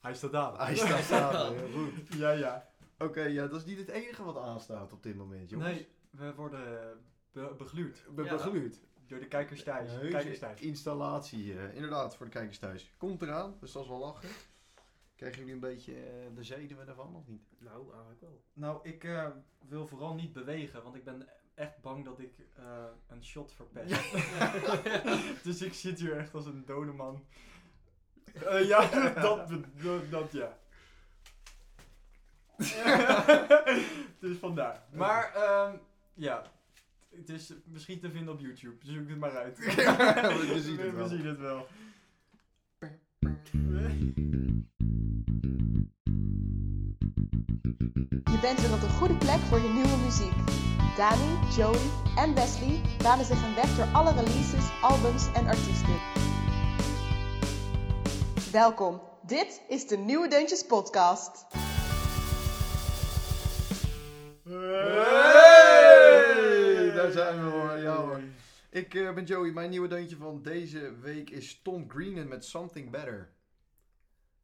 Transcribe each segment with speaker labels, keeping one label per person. Speaker 1: Hij staat aan.
Speaker 2: Hij staat staan, heel goed.
Speaker 1: Ja, ja.
Speaker 2: Oké, ja, dat is niet het enige wat aanstaat op dit moment, jongens.
Speaker 1: Nee, we worden be- begluurd
Speaker 2: Ik ben
Speaker 3: Ja.
Speaker 2: begluurd.
Speaker 1: door de kijkers thuis.
Speaker 2: Een
Speaker 1: kijkers
Speaker 2: heuse
Speaker 1: thuis.
Speaker 2: installatie, eh, inderdaad, voor de kijkers thuis. Komt eraan, dus dat is wel lachen. Krijgen jullie een beetje eh, de zenuwen ervan, of niet?
Speaker 3: Nou, eigenlijk wel.
Speaker 1: Nou, ik eh, wil vooral niet bewegen, want ik ben echt bang dat ik eh, een shot verpest. dus ik zit hier echt als een dode man. Eh, ja, dat, dat, dat ja. dus vandaar. Maar, ehm, ja. Het is misschien te vinden op YouTube. Zoek het maar uit.
Speaker 2: We zien het wel.
Speaker 1: We zien het wel.
Speaker 4: Je bent weer op de goede plek voor je nieuwe muziek. Dani, Joey en Wesley banen zich een weg door alle releases, albums en artiesten. Welkom, dit is de Nieuwe Deuntjes Podcast.
Speaker 2: Hey, daar zijn we hoor. Ja, hoor. Ik eh, ben Joey, mijn nieuwe deuntje van deze week is Tom Greenan met Something Better.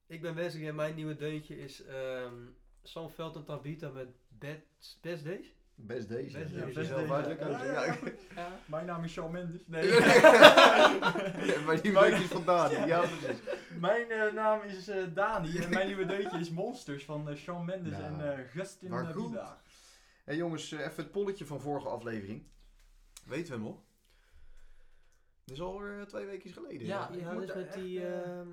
Speaker 3: Ik ben Wesley en mijn nieuwe deuntje is ehm Sam Veld en Tabita met Bad, Best Days.
Speaker 2: Best deze.
Speaker 3: Best
Speaker 2: Ja,
Speaker 3: deze,
Speaker 2: dat is
Speaker 3: ja.
Speaker 2: heel duidelijk.
Speaker 1: Ja, ja,
Speaker 2: Ja,
Speaker 1: ja. Mijn naam is Shawn Mendes. Nee.
Speaker 2: Ja, maar die weet je vandaan. Ja, precies.
Speaker 1: Mijn eh, naam is eh, Dani en mijn nieuwe deuntje is Monsters van eh Shawn Mendes
Speaker 2: Nou,
Speaker 1: en eh, Justin
Speaker 2: maar
Speaker 1: eh,
Speaker 2: goed.
Speaker 1: Bieber.
Speaker 2: Hé jongens, eh, even het polletje van vorige aflevering. Weten we hem nog? Dat is alweer eh, twee weken
Speaker 1: Ja.
Speaker 2: geleden. Ja.
Speaker 1: Ah, ik
Speaker 3: Ja,
Speaker 1: moet
Speaker 3: dus
Speaker 1: daar
Speaker 3: met
Speaker 1: echt,
Speaker 3: die...
Speaker 1: eh,
Speaker 3: ehm,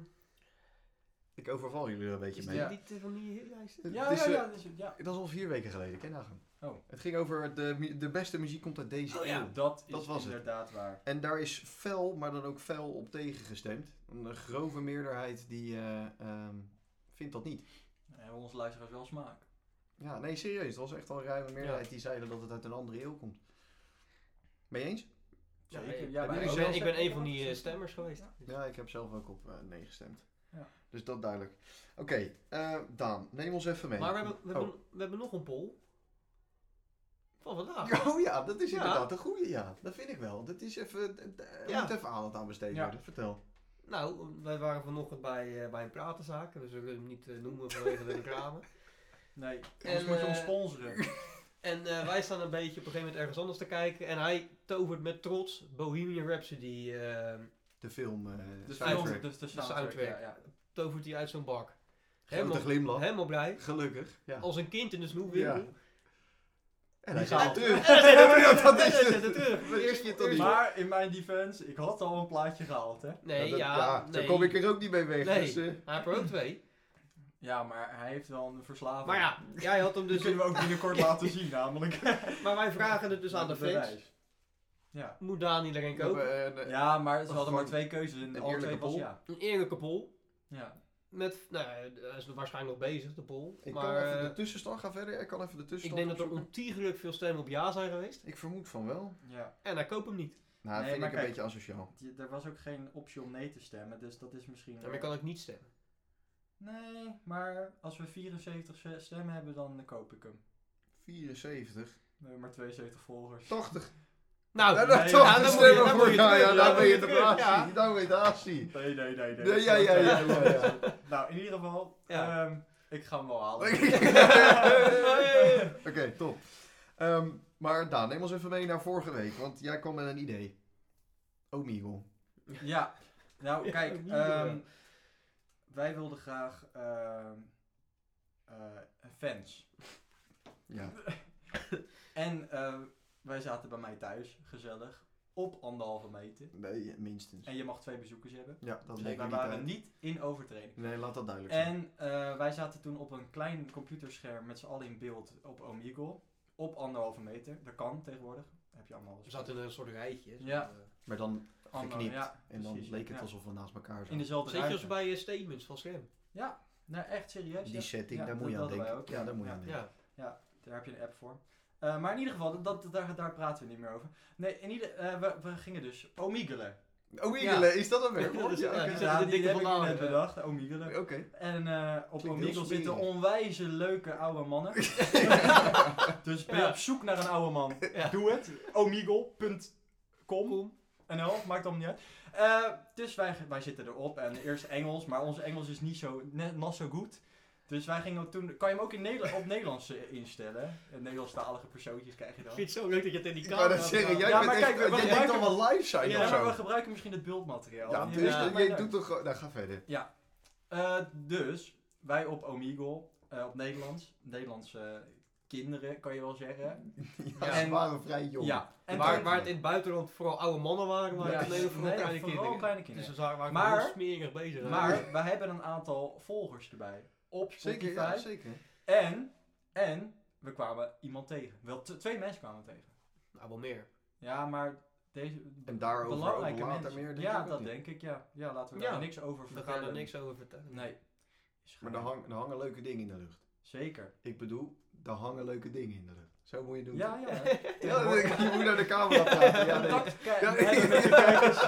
Speaker 2: Ik overval jullie er een beetje
Speaker 3: is
Speaker 2: mee.
Speaker 1: Ja.
Speaker 3: dat niet eh, van die hitlijsten?
Speaker 1: Ja,
Speaker 2: Het
Speaker 1: ja,
Speaker 2: is, eh,
Speaker 1: ja, dus, ja.
Speaker 2: Dat is al vier weken geleden, ken nagaan.
Speaker 1: Oh.
Speaker 2: Het ging over de, mu- de beste muziek komt uit deze
Speaker 3: Oh, ja.
Speaker 2: eeuw.
Speaker 1: Dat is
Speaker 2: Dat was het.
Speaker 1: inderdaad waar.
Speaker 2: En daar is fel, maar dan ook fel op tegengestemd. Een grove meerderheid die eh, ehm, vindt dat niet.
Speaker 1: We hebben onze luisteraars wel smaak.
Speaker 2: Ja, nee, serieus. Het was echt al een ruime meerderheid die zeiden dat het uit een andere eeuw komt. Ben je eens?
Speaker 3: Ja,
Speaker 1: Zeker.
Speaker 3: ik-
Speaker 1: Ja,
Speaker 2: ik
Speaker 1: wij
Speaker 2: ben
Speaker 3: ik,
Speaker 1: ook.
Speaker 3: ben,
Speaker 2: zelf-
Speaker 3: ik ben een van die eh, stemmers geweest.
Speaker 2: Ja, ik heb zelf ook op eh, nee gestemd.
Speaker 1: Ja.
Speaker 2: Dus dat duidelijk. Oké, eh, Daan, neem ons even mee.
Speaker 3: Maar we hebben, we, hebben,
Speaker 2: Oh.
Speaker 3: we hebben nog een poll. Van vandaag.
Speaker 2: Oh ja, dat is
Speaker 3: Ja.
Speaker 2: inderdaad een goede, ja. Dat vind ik wel. Dat is even, eh,
Speaker 3: Ja.
Speaker 2: moet even aandacht aan besteden
Speaker 1: Ja.
Speaker 2: worden. Vertel.
Speaker 3: Nou, wij waren vanochtend bij, eh, bij een pratenzaak. We zullen hem niet eh, noemen vanwege de reclame.
Speaker 1: Nee, anders
Speaker 3: En,
Speaker 1: moet je ons
Speaker 3: eh,
Speaker 1: sponsoren. Dus
Speaker 3: En eh, wij staan een beetje op een gegeven moment ergens anders te kijken. En hij tovert met trots Bohemian Rhapsody. eh,
Speaker 2: De film. eh
Speaker 1: Dus
Speaker 2: soundtrack.
Speaker 1: film, dus de soundtrack.
Speaker 3: soundtrack.
Speaker 1: Ja, ja.
Speaker 3: tovert hij uit zo'n bak.
Speaker 2: Grote glimlach.
Speaker 3: helemaal blij.
Speaker 2: Gelukkig. Ja.
Speaker 3: Als een kind in de snoepwinkel.
Speaker 2: Ja. En hij
Speaker 1: Die zaal.
Speaker 2: gaat terug.
Speaker 3: En hij zet hem
Speaker 2: Ja,
Speaker 3: terug.
Speaker 2: dat
Speaker 3: En hij
Speaker 2: is
Speaker 3: zet
Speaker 2: het.
Speaker 3: hem terug.
Speaker 2: Dat is het toch niet.
Speaker 1: Maar in mijn defense, ik had al een plaatje gehaald, hè.
Speaker 3: Nee, ja,
Speaker 2: dat-
Speaker 3: nee.
Speaker 2: Daar kom ik er ook niet mee weg.
Speaker 3: Nee.
Speaker 2: Dus, eh,
Speaker 3: Hij heeft er ook twee.
Speaker 1: Ja, maar hij heeft wel een verslaving.
Speaker 3: Maar ja, jij had hem
Speaker 1: Die
Speaker 3: dus...
Speaker 1: kunnen we ook binnenkort laten zien, namelijk.
Speaker 3: Maar wij vragen het dus aan de
Speaker 1: Met
Speaker 3: fans.
Speaker 1: bewijs. Ja.
Speaker 3: Moet Dani erin
Speaker 2: we hebben,
Speaker 3: kopen?
Speaker 2: eh, een-
Speaker 1: Ja, maar ze hadden maar
Speaker 2: Gewoon
Speaker 1: twee keuzes en alle
Speaker 2: een
Speaker 1: twee
Speaker 2: eerlijke
Speaker 1: was
Speaker 2: poll.
Speaker 1: ja.
Speaker 3: Een eerlijke poll.
Speaker 1: Ja.
Speaker 3: Met, nou, hij is waarschijnlijk nog bezig, de poll.
Speaker 2: Ik
Speaker 3: maar
Speaker 2: kan even
Speaker 3: eh,
Speaker 2: de tussenstand gaan verder. Ik kan even de
Speaker 3: ik
Speaker 2: tussenstand
Speaker 3: denk dat er
Speaker 2: opzoeken.
Speaker 3: ontiegelijk veel stemmen op ja zijn geweest.
Speaker 2: Ik vermoed van wel.
Speaker 1: ja.
Speaker 3: En hij koopt hem niet.
Speaker 2: Nou, dat
Speaker 1: Nee, maar
Speaker 2: vind ik een
Speaker 1: kijk.
Speaker 2: beetje asociaal.
Speaker 1: Je- Er was ook geen optie om nee te stemmen, dus dat is misschien...
Speaker 3: En maar je kan ook niet stemmen.
Speaker 1: Nee, maar als we 74 se- stemmen hebben, dan koop ik hem.
Speaker 2: 74.
Speaker 1: We hebben maar 72 volgers.
Speaker 2: 80.
Speaker 3: Nou,
Speaker 2: Ja,
Speaker 1: dat-
Speaker 3: nee,
Speaker 1: ja, dan
Speaker 2: toch, de
Speaker 1: moet je-
Speaker 2: stemmen
Speaker 1: dan
Speaker 2: voor-
Speaker 1: moet je
Speaker 2: ja,
Speaker 1: terug,
Speaker 2: ja,
Speaker 1: dan
Speaker 2: daar ben je
Speaker 1: moet
Speaker 2: de
Speaker 1: je terug,
Speaker 2: baas.
Speaker 3: ja.
Speaker 2: Daar ben je de asie.
Speaker 1: Nee, nee, nee. nee.
Speaker 2: Ja, ja, ja, ja, ja, ja.
Speaker 1: Nou, in ieder geval,
Speaker 3: Ja.
Speaker 1: ehm, ik ga hem wel halen.
Speaker 2: Oké, top. Ehm, maar Daan, neem ons even mee naar vorige week, want jij kwam met een idee. Omegle.
Speaker 1: Ja, nou
Speaker 3: Ja,
Speaker 1: kijk,
Speaker 3: niet
Speaker 1: ehm,
Speaker 3: doen
Speaker 1: wij wilden graag ehm, eh, fans.
Speaker 2: Ja.
Speaker 1: En eh, wij zaten bij mij thuis, gezellig, op anderhalve meter.
Speaker 2: Nee, minstens.
Speaker 1: En je mag twee bezoekers hebben.
Speaker 2: Ja, dat
Speaker 1: Dus
Speaker 2: leek me
Speaker 1: wij
Speaker 2: niet
Speaker 1: waren
Speaker 2: uit.
Speaker 1: niet in overtreding.
Speaker 2: Nee, laat dat duidelijk zijn.
Speaker 1: En eh, wij zaten toen op een klein computerscherm met z'n allen in beeld op Omegle. Op anderhalve meter. Dat kan tegenwoordig. Heb je allemaal
Speaker 3: We zaten in een soort rijtje. zo,
Speaker 1: Ja.
Speaker 3: eh.
Speaker 2: Maar dan,
Speaker 1: Ander-
Speaker 2: geknipt.
Speaker 1: Ja,
Speaker 2: en dan
Speaker 1: precies,
Speaker 2: leek het
Speaker 1: ja.
Speaker 2: alsof we naast elkaar
Speaker 1: In
Speaker 2: zaten.
Speaker 1: dezelfde
Speaker 3: Zit je
Speaker 1: ruimte.
Speaker 3: als bij eh, statements van Slam?
Speaker 1: Ja, nou echt serieus.
Speaker 2: Die
Speaker 1: ja.
Speaker 2: setting,
Speaker 1: Ja,
Speaker 2: daar moet je aan
Speaker 1: dat hadden
Speaker 2: denken.
Speaker 1: wij ook,
Speaker 2: ja, daar moet je aan denken.
Speaker 3: Ja.
Speaker 1: Daar heb je een app voor. Eh, maar in ieder geval, dat, dat- daar, daar praten we niet meer over. Nee, in ieder, eh, we, we gingen dus omigelen.
Speaker 2: Omegle, Oh, is dat een
Speaker 3: Ja, dat
Speaker 2: werkwoord?
Speaker 3: is-
Speaker 2: Ja,
Speaker 3: ja,
Speaker 2: oké.
Speaker 3: die zetten de dikke
Speaker 1: heb ik
Speaker 3: vandaan,
Speaker 1: net
Speaker 3: ja.
Speaker 1: bedacht, omigelen.
Speaker 2: Oké.
Speaker 1: En eh, op
Speaker 2: Klinkt heel
Speaker 1: Omegle zitten
Speaker 2: smerig.
Speaker 1: onwijze leuke oude mannen. dus ben je
Speaker 3: Ja.
Speaker 1: op zoek naar een oude man,
Speaker 3: Ja.
Speaker 1: doe het. Omegle.com
Speaker 3: Kom.
Speaker 1: NL, maakt allemaal niet uit. Eh, dus wij, wij zitten erop en eerst Engels, maar ons Engels is niet zo, net, not zo goed. Dus wij gingen ook toen, kan je hem ook in Nederland, op Nederlands eh, instellen? Eh, Nederlandstalige persoontjes krijg je
Speaker 3: Ik
Speaker 1: dan.
Speaker 3: vind het zo leuk dat je het in die
Speaker 2: Ik
Speaker 3: camera
Speaker 2: wou dat zeggen, jij
Speaker 1: Ja,
Speaker 2: bent
Speaker 1: maar
Speaker 2: echt,
Speaker 1: kijk, we- we
Speaker 2: jij denkt dan
Speaker 1: gebruiken-
Speaker 2: wel live zijn
Speaker 1: Ja,
Speaker 2: of
Speaker 1: maar
Speaker 2: zo.
Speaker 1: we gebruiken misschien het beeldmateriaal.
Speaker 2: ja,
Speaker 1: Je
Speaker 2: dus
Speaker 1: weet
Speaker 3: ja,
Speaker 1: het maar
Speaker 2: jij
Speaker 1: leuk.
Speaker 2: doet toch... gewoon- Nou, ga verder.
Speaker 1: Ja. Eh, dus, wij op Omegle, eh, op Nederlands, Nederlandse eh, kinderen kan je wel zeggen.
Speaker 2: Ja, ze
Speaker 1: En-
Speaker 2: waren vrij jong.
Speaker 1: Ja. En
Speaker 3: waar,
Speaker 1: toen-
Speaker 3: waar het in het buitenland vooral oude mannen waren, maar
Speaker 1: Ja,
Speaker 3: in het Nederland vooral
Speaker 1: nee,
Speaker 3: kleine
Speaker 1: vooral
Speaker 3: kinderen.
Speaker 1: kleine
Speaker 3: Dus eh,
Speaker 1: kinderen.
Speaker 3: we waren, waren
Speaker 1: Maar-
Speaker 3: heel smerig bezig. hè?
Speaker 1: Maar we hebben een aantal volgers erbij. Op Spotify.
Speaker 2: Zeker, ja, zeker.
Speaker 1: En, en, we kwamen iemand tegen. Wel, t- twee mensen kwamen we tegen.
Speaker 3: Nou, wel meer.
Speaker 1: Ja, maar deze...
Speaker 2: En daarover
Speaker 1: belangrijke
Speaker 2: ook later
Speaker 1: mensen.
Speaker 2: meer, denk
Speaker 1: Ja,
Speaker 2: ik ook
Speaker 1: dat
Speaker 2: niet.
Speaker 1: denk ik, ja. Ja, laten we
Speaker 3: Ja.
Speaker 1: daar niks over
Speaker 3: We
Speaker 1: vertellen.
Speaker 3: gaan er niks over vertellen.
Speaker 1: Nee. Is
Speaker 2: Maar
Speaker 1: goed.
Speaker 2: er, hang, er hangen leuke dingen in de lucht.
Speaker 1: Zeker.
Speaker 2: Ik bedoel, er hangen leuke dingen in de lucht. Zo moet je doen.
Speaker 1: Ja, ja. hè.
Speaker 2: Ja, dat- je moet naar de camera praten. Ja, nee.
Speaker 1: Contact ke-
Speaker 2: Ja.
Speaker 1: hebben met de kijkers.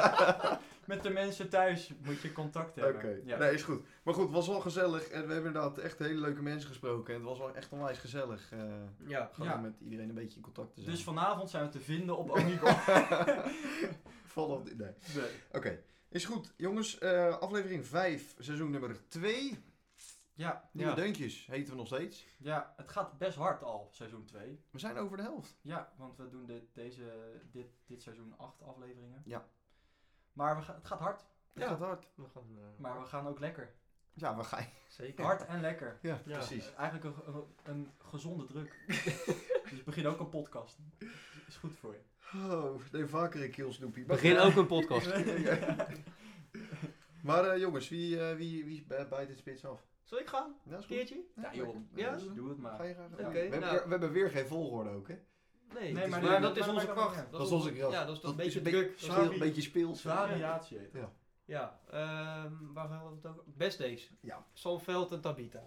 Speaker 1: Met de mensen thuis moet je contact
Speaker 2: Oké,
Speaker 1: hebben. Ja.
Speaker 2: nee, is goed. Maar goed, het was wel gezellig. En we hebben inderdaad echt hele leuke mensen gesproken. En het was wel echt onwijs gezellig. eh,
Speaker 3: Ja.
Speaker 2: gewoon
Speaker 1: Ja.
Speaker 2: met iedereen een beetje in contact te zijn.
Speaker 1: Dus vanavond zijn we te vinden op Omegle.
Speaker 2: Val op. Nee. Oké,
Speaker 1: Nee.
Speaker 2: is goed. Jongens, eh, aflevering 5, seizoen nummer 2.
Speaker 1: Ja,
Speaker 2: Nieuwe
Speaker 1: ja,
Speaker 2: deuntjes heten we nog steeds.
Speaker 1: ja, het gaat best hard al, seizoen 2.
Speaker 2: We zijn over de helft.
Speaker 1: Ja, want we doen dit, deze, dit, dit seizoen acht afleveringen.
Speaker 2: Ja.
Speaker 1: Maar we ga- het gaat hard,
Speaker 2: Het gaat hard.
Speaker 3: We gaan, eh,
Speaker 1: maar we gaan ook lekker.
Speaker 2: Ja, we gaan.
Speaker 3: Zeker.
Speaker 1: Hard en lekker.
Speaker 2: Ja,
Speaker 3: Ja.
Speaker 2: precies.
Speaker 1: Eigenlijk een, een, een gezonde druk. dus begin ook een podcast. Is goed voor je.
Speaker 2: Oh, nee, vaker een keel Snoopy. Maar- eh,
Speaker 3: Begin ook een podcast.
Speaker 2: Maar eh, jongens, wie, eh, wie, wie bij- bijt dit spits af?
Speaker 3: Zal ik gaan?
Speaker 2: Ja, is
Speaker 3: Een
Speaker 2: goed.
Speaker 3: keertje?
Speaker 1: Ja, joh.
Speaker 3: Ja?
Speaker 2: dat is-
Speaker 1: Doe het
Speaker 2: Ga
Speaker 1: maar.
Speaker 2: je graag.
Speaker 3: Oké,
Speaker 2: we, hebben,
Speaker 3: nou.
Speaker 2: we hebben weer geen volgorde ook, hè?
Speaker 3: Nee.
Speaker 1: Nee,
Speaker 3: het
Speaker 1: maar
Speaker 3: is-
Speaker 1: die-
Speaker 3: maar dat
Speaker 1: maar
Speaker 3: is
Speaker 1: dat
Speaker 3: onze
Speaker 1: maakt ook
Speaker 3: kracht.
Speaker 1: niet
Speaker 2: Dat is onze kracht.
Speaker 3: Ja, dat is toch een
Speaker 2: Dat is
Speaker 3: beetje
Speaker 2: een beetje-
Speaker 3: druk.
Speaker 2: Speel, een
Speaker 1: Sorry.
Speaker 2: beetje speels.
Speaker 1: Variatie heet het.
Speaker 3: Ja, ehm, waar gaan we het over? Best Days.
Speaker 2: Ja.
Speaker 3: Sanveld en Tabita.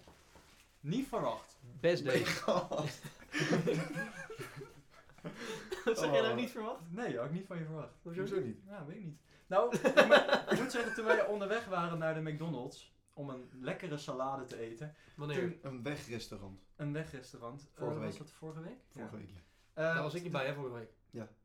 Speaker 1: Niet verwacht.
Speaker 3: Best Days. Dat zeg je nou
Speaker 2: Oh.
Speaker 3: niet verwacht?
Speaker 1: Nee, had ik niet van je verwacht.
Speaker 3: Hoezo?
Speaker 2: Hoezo niet?
Speaker 1: Ja, weet ik niet. Nou, ik moet- ik moet zeggen, toen wij onderweg waren naar de McDonald's om een lekkere salade te eten.
Speaker 3: Wanneer?
Speaker 1: Toen
Speaker 2: Een wegrestaurant.
Speaker 1: een wegrestaurant.
Speaker 2: Vorige
Speaker 1: Eh,
Speaker 2: week.
Speaker 1: Was dat vorige week?
Speaker 2: Vorige week. ja.
Speaker 1: Ja. Eh,
Speaker 3: Daar was ik niet bij, hè, vorige week.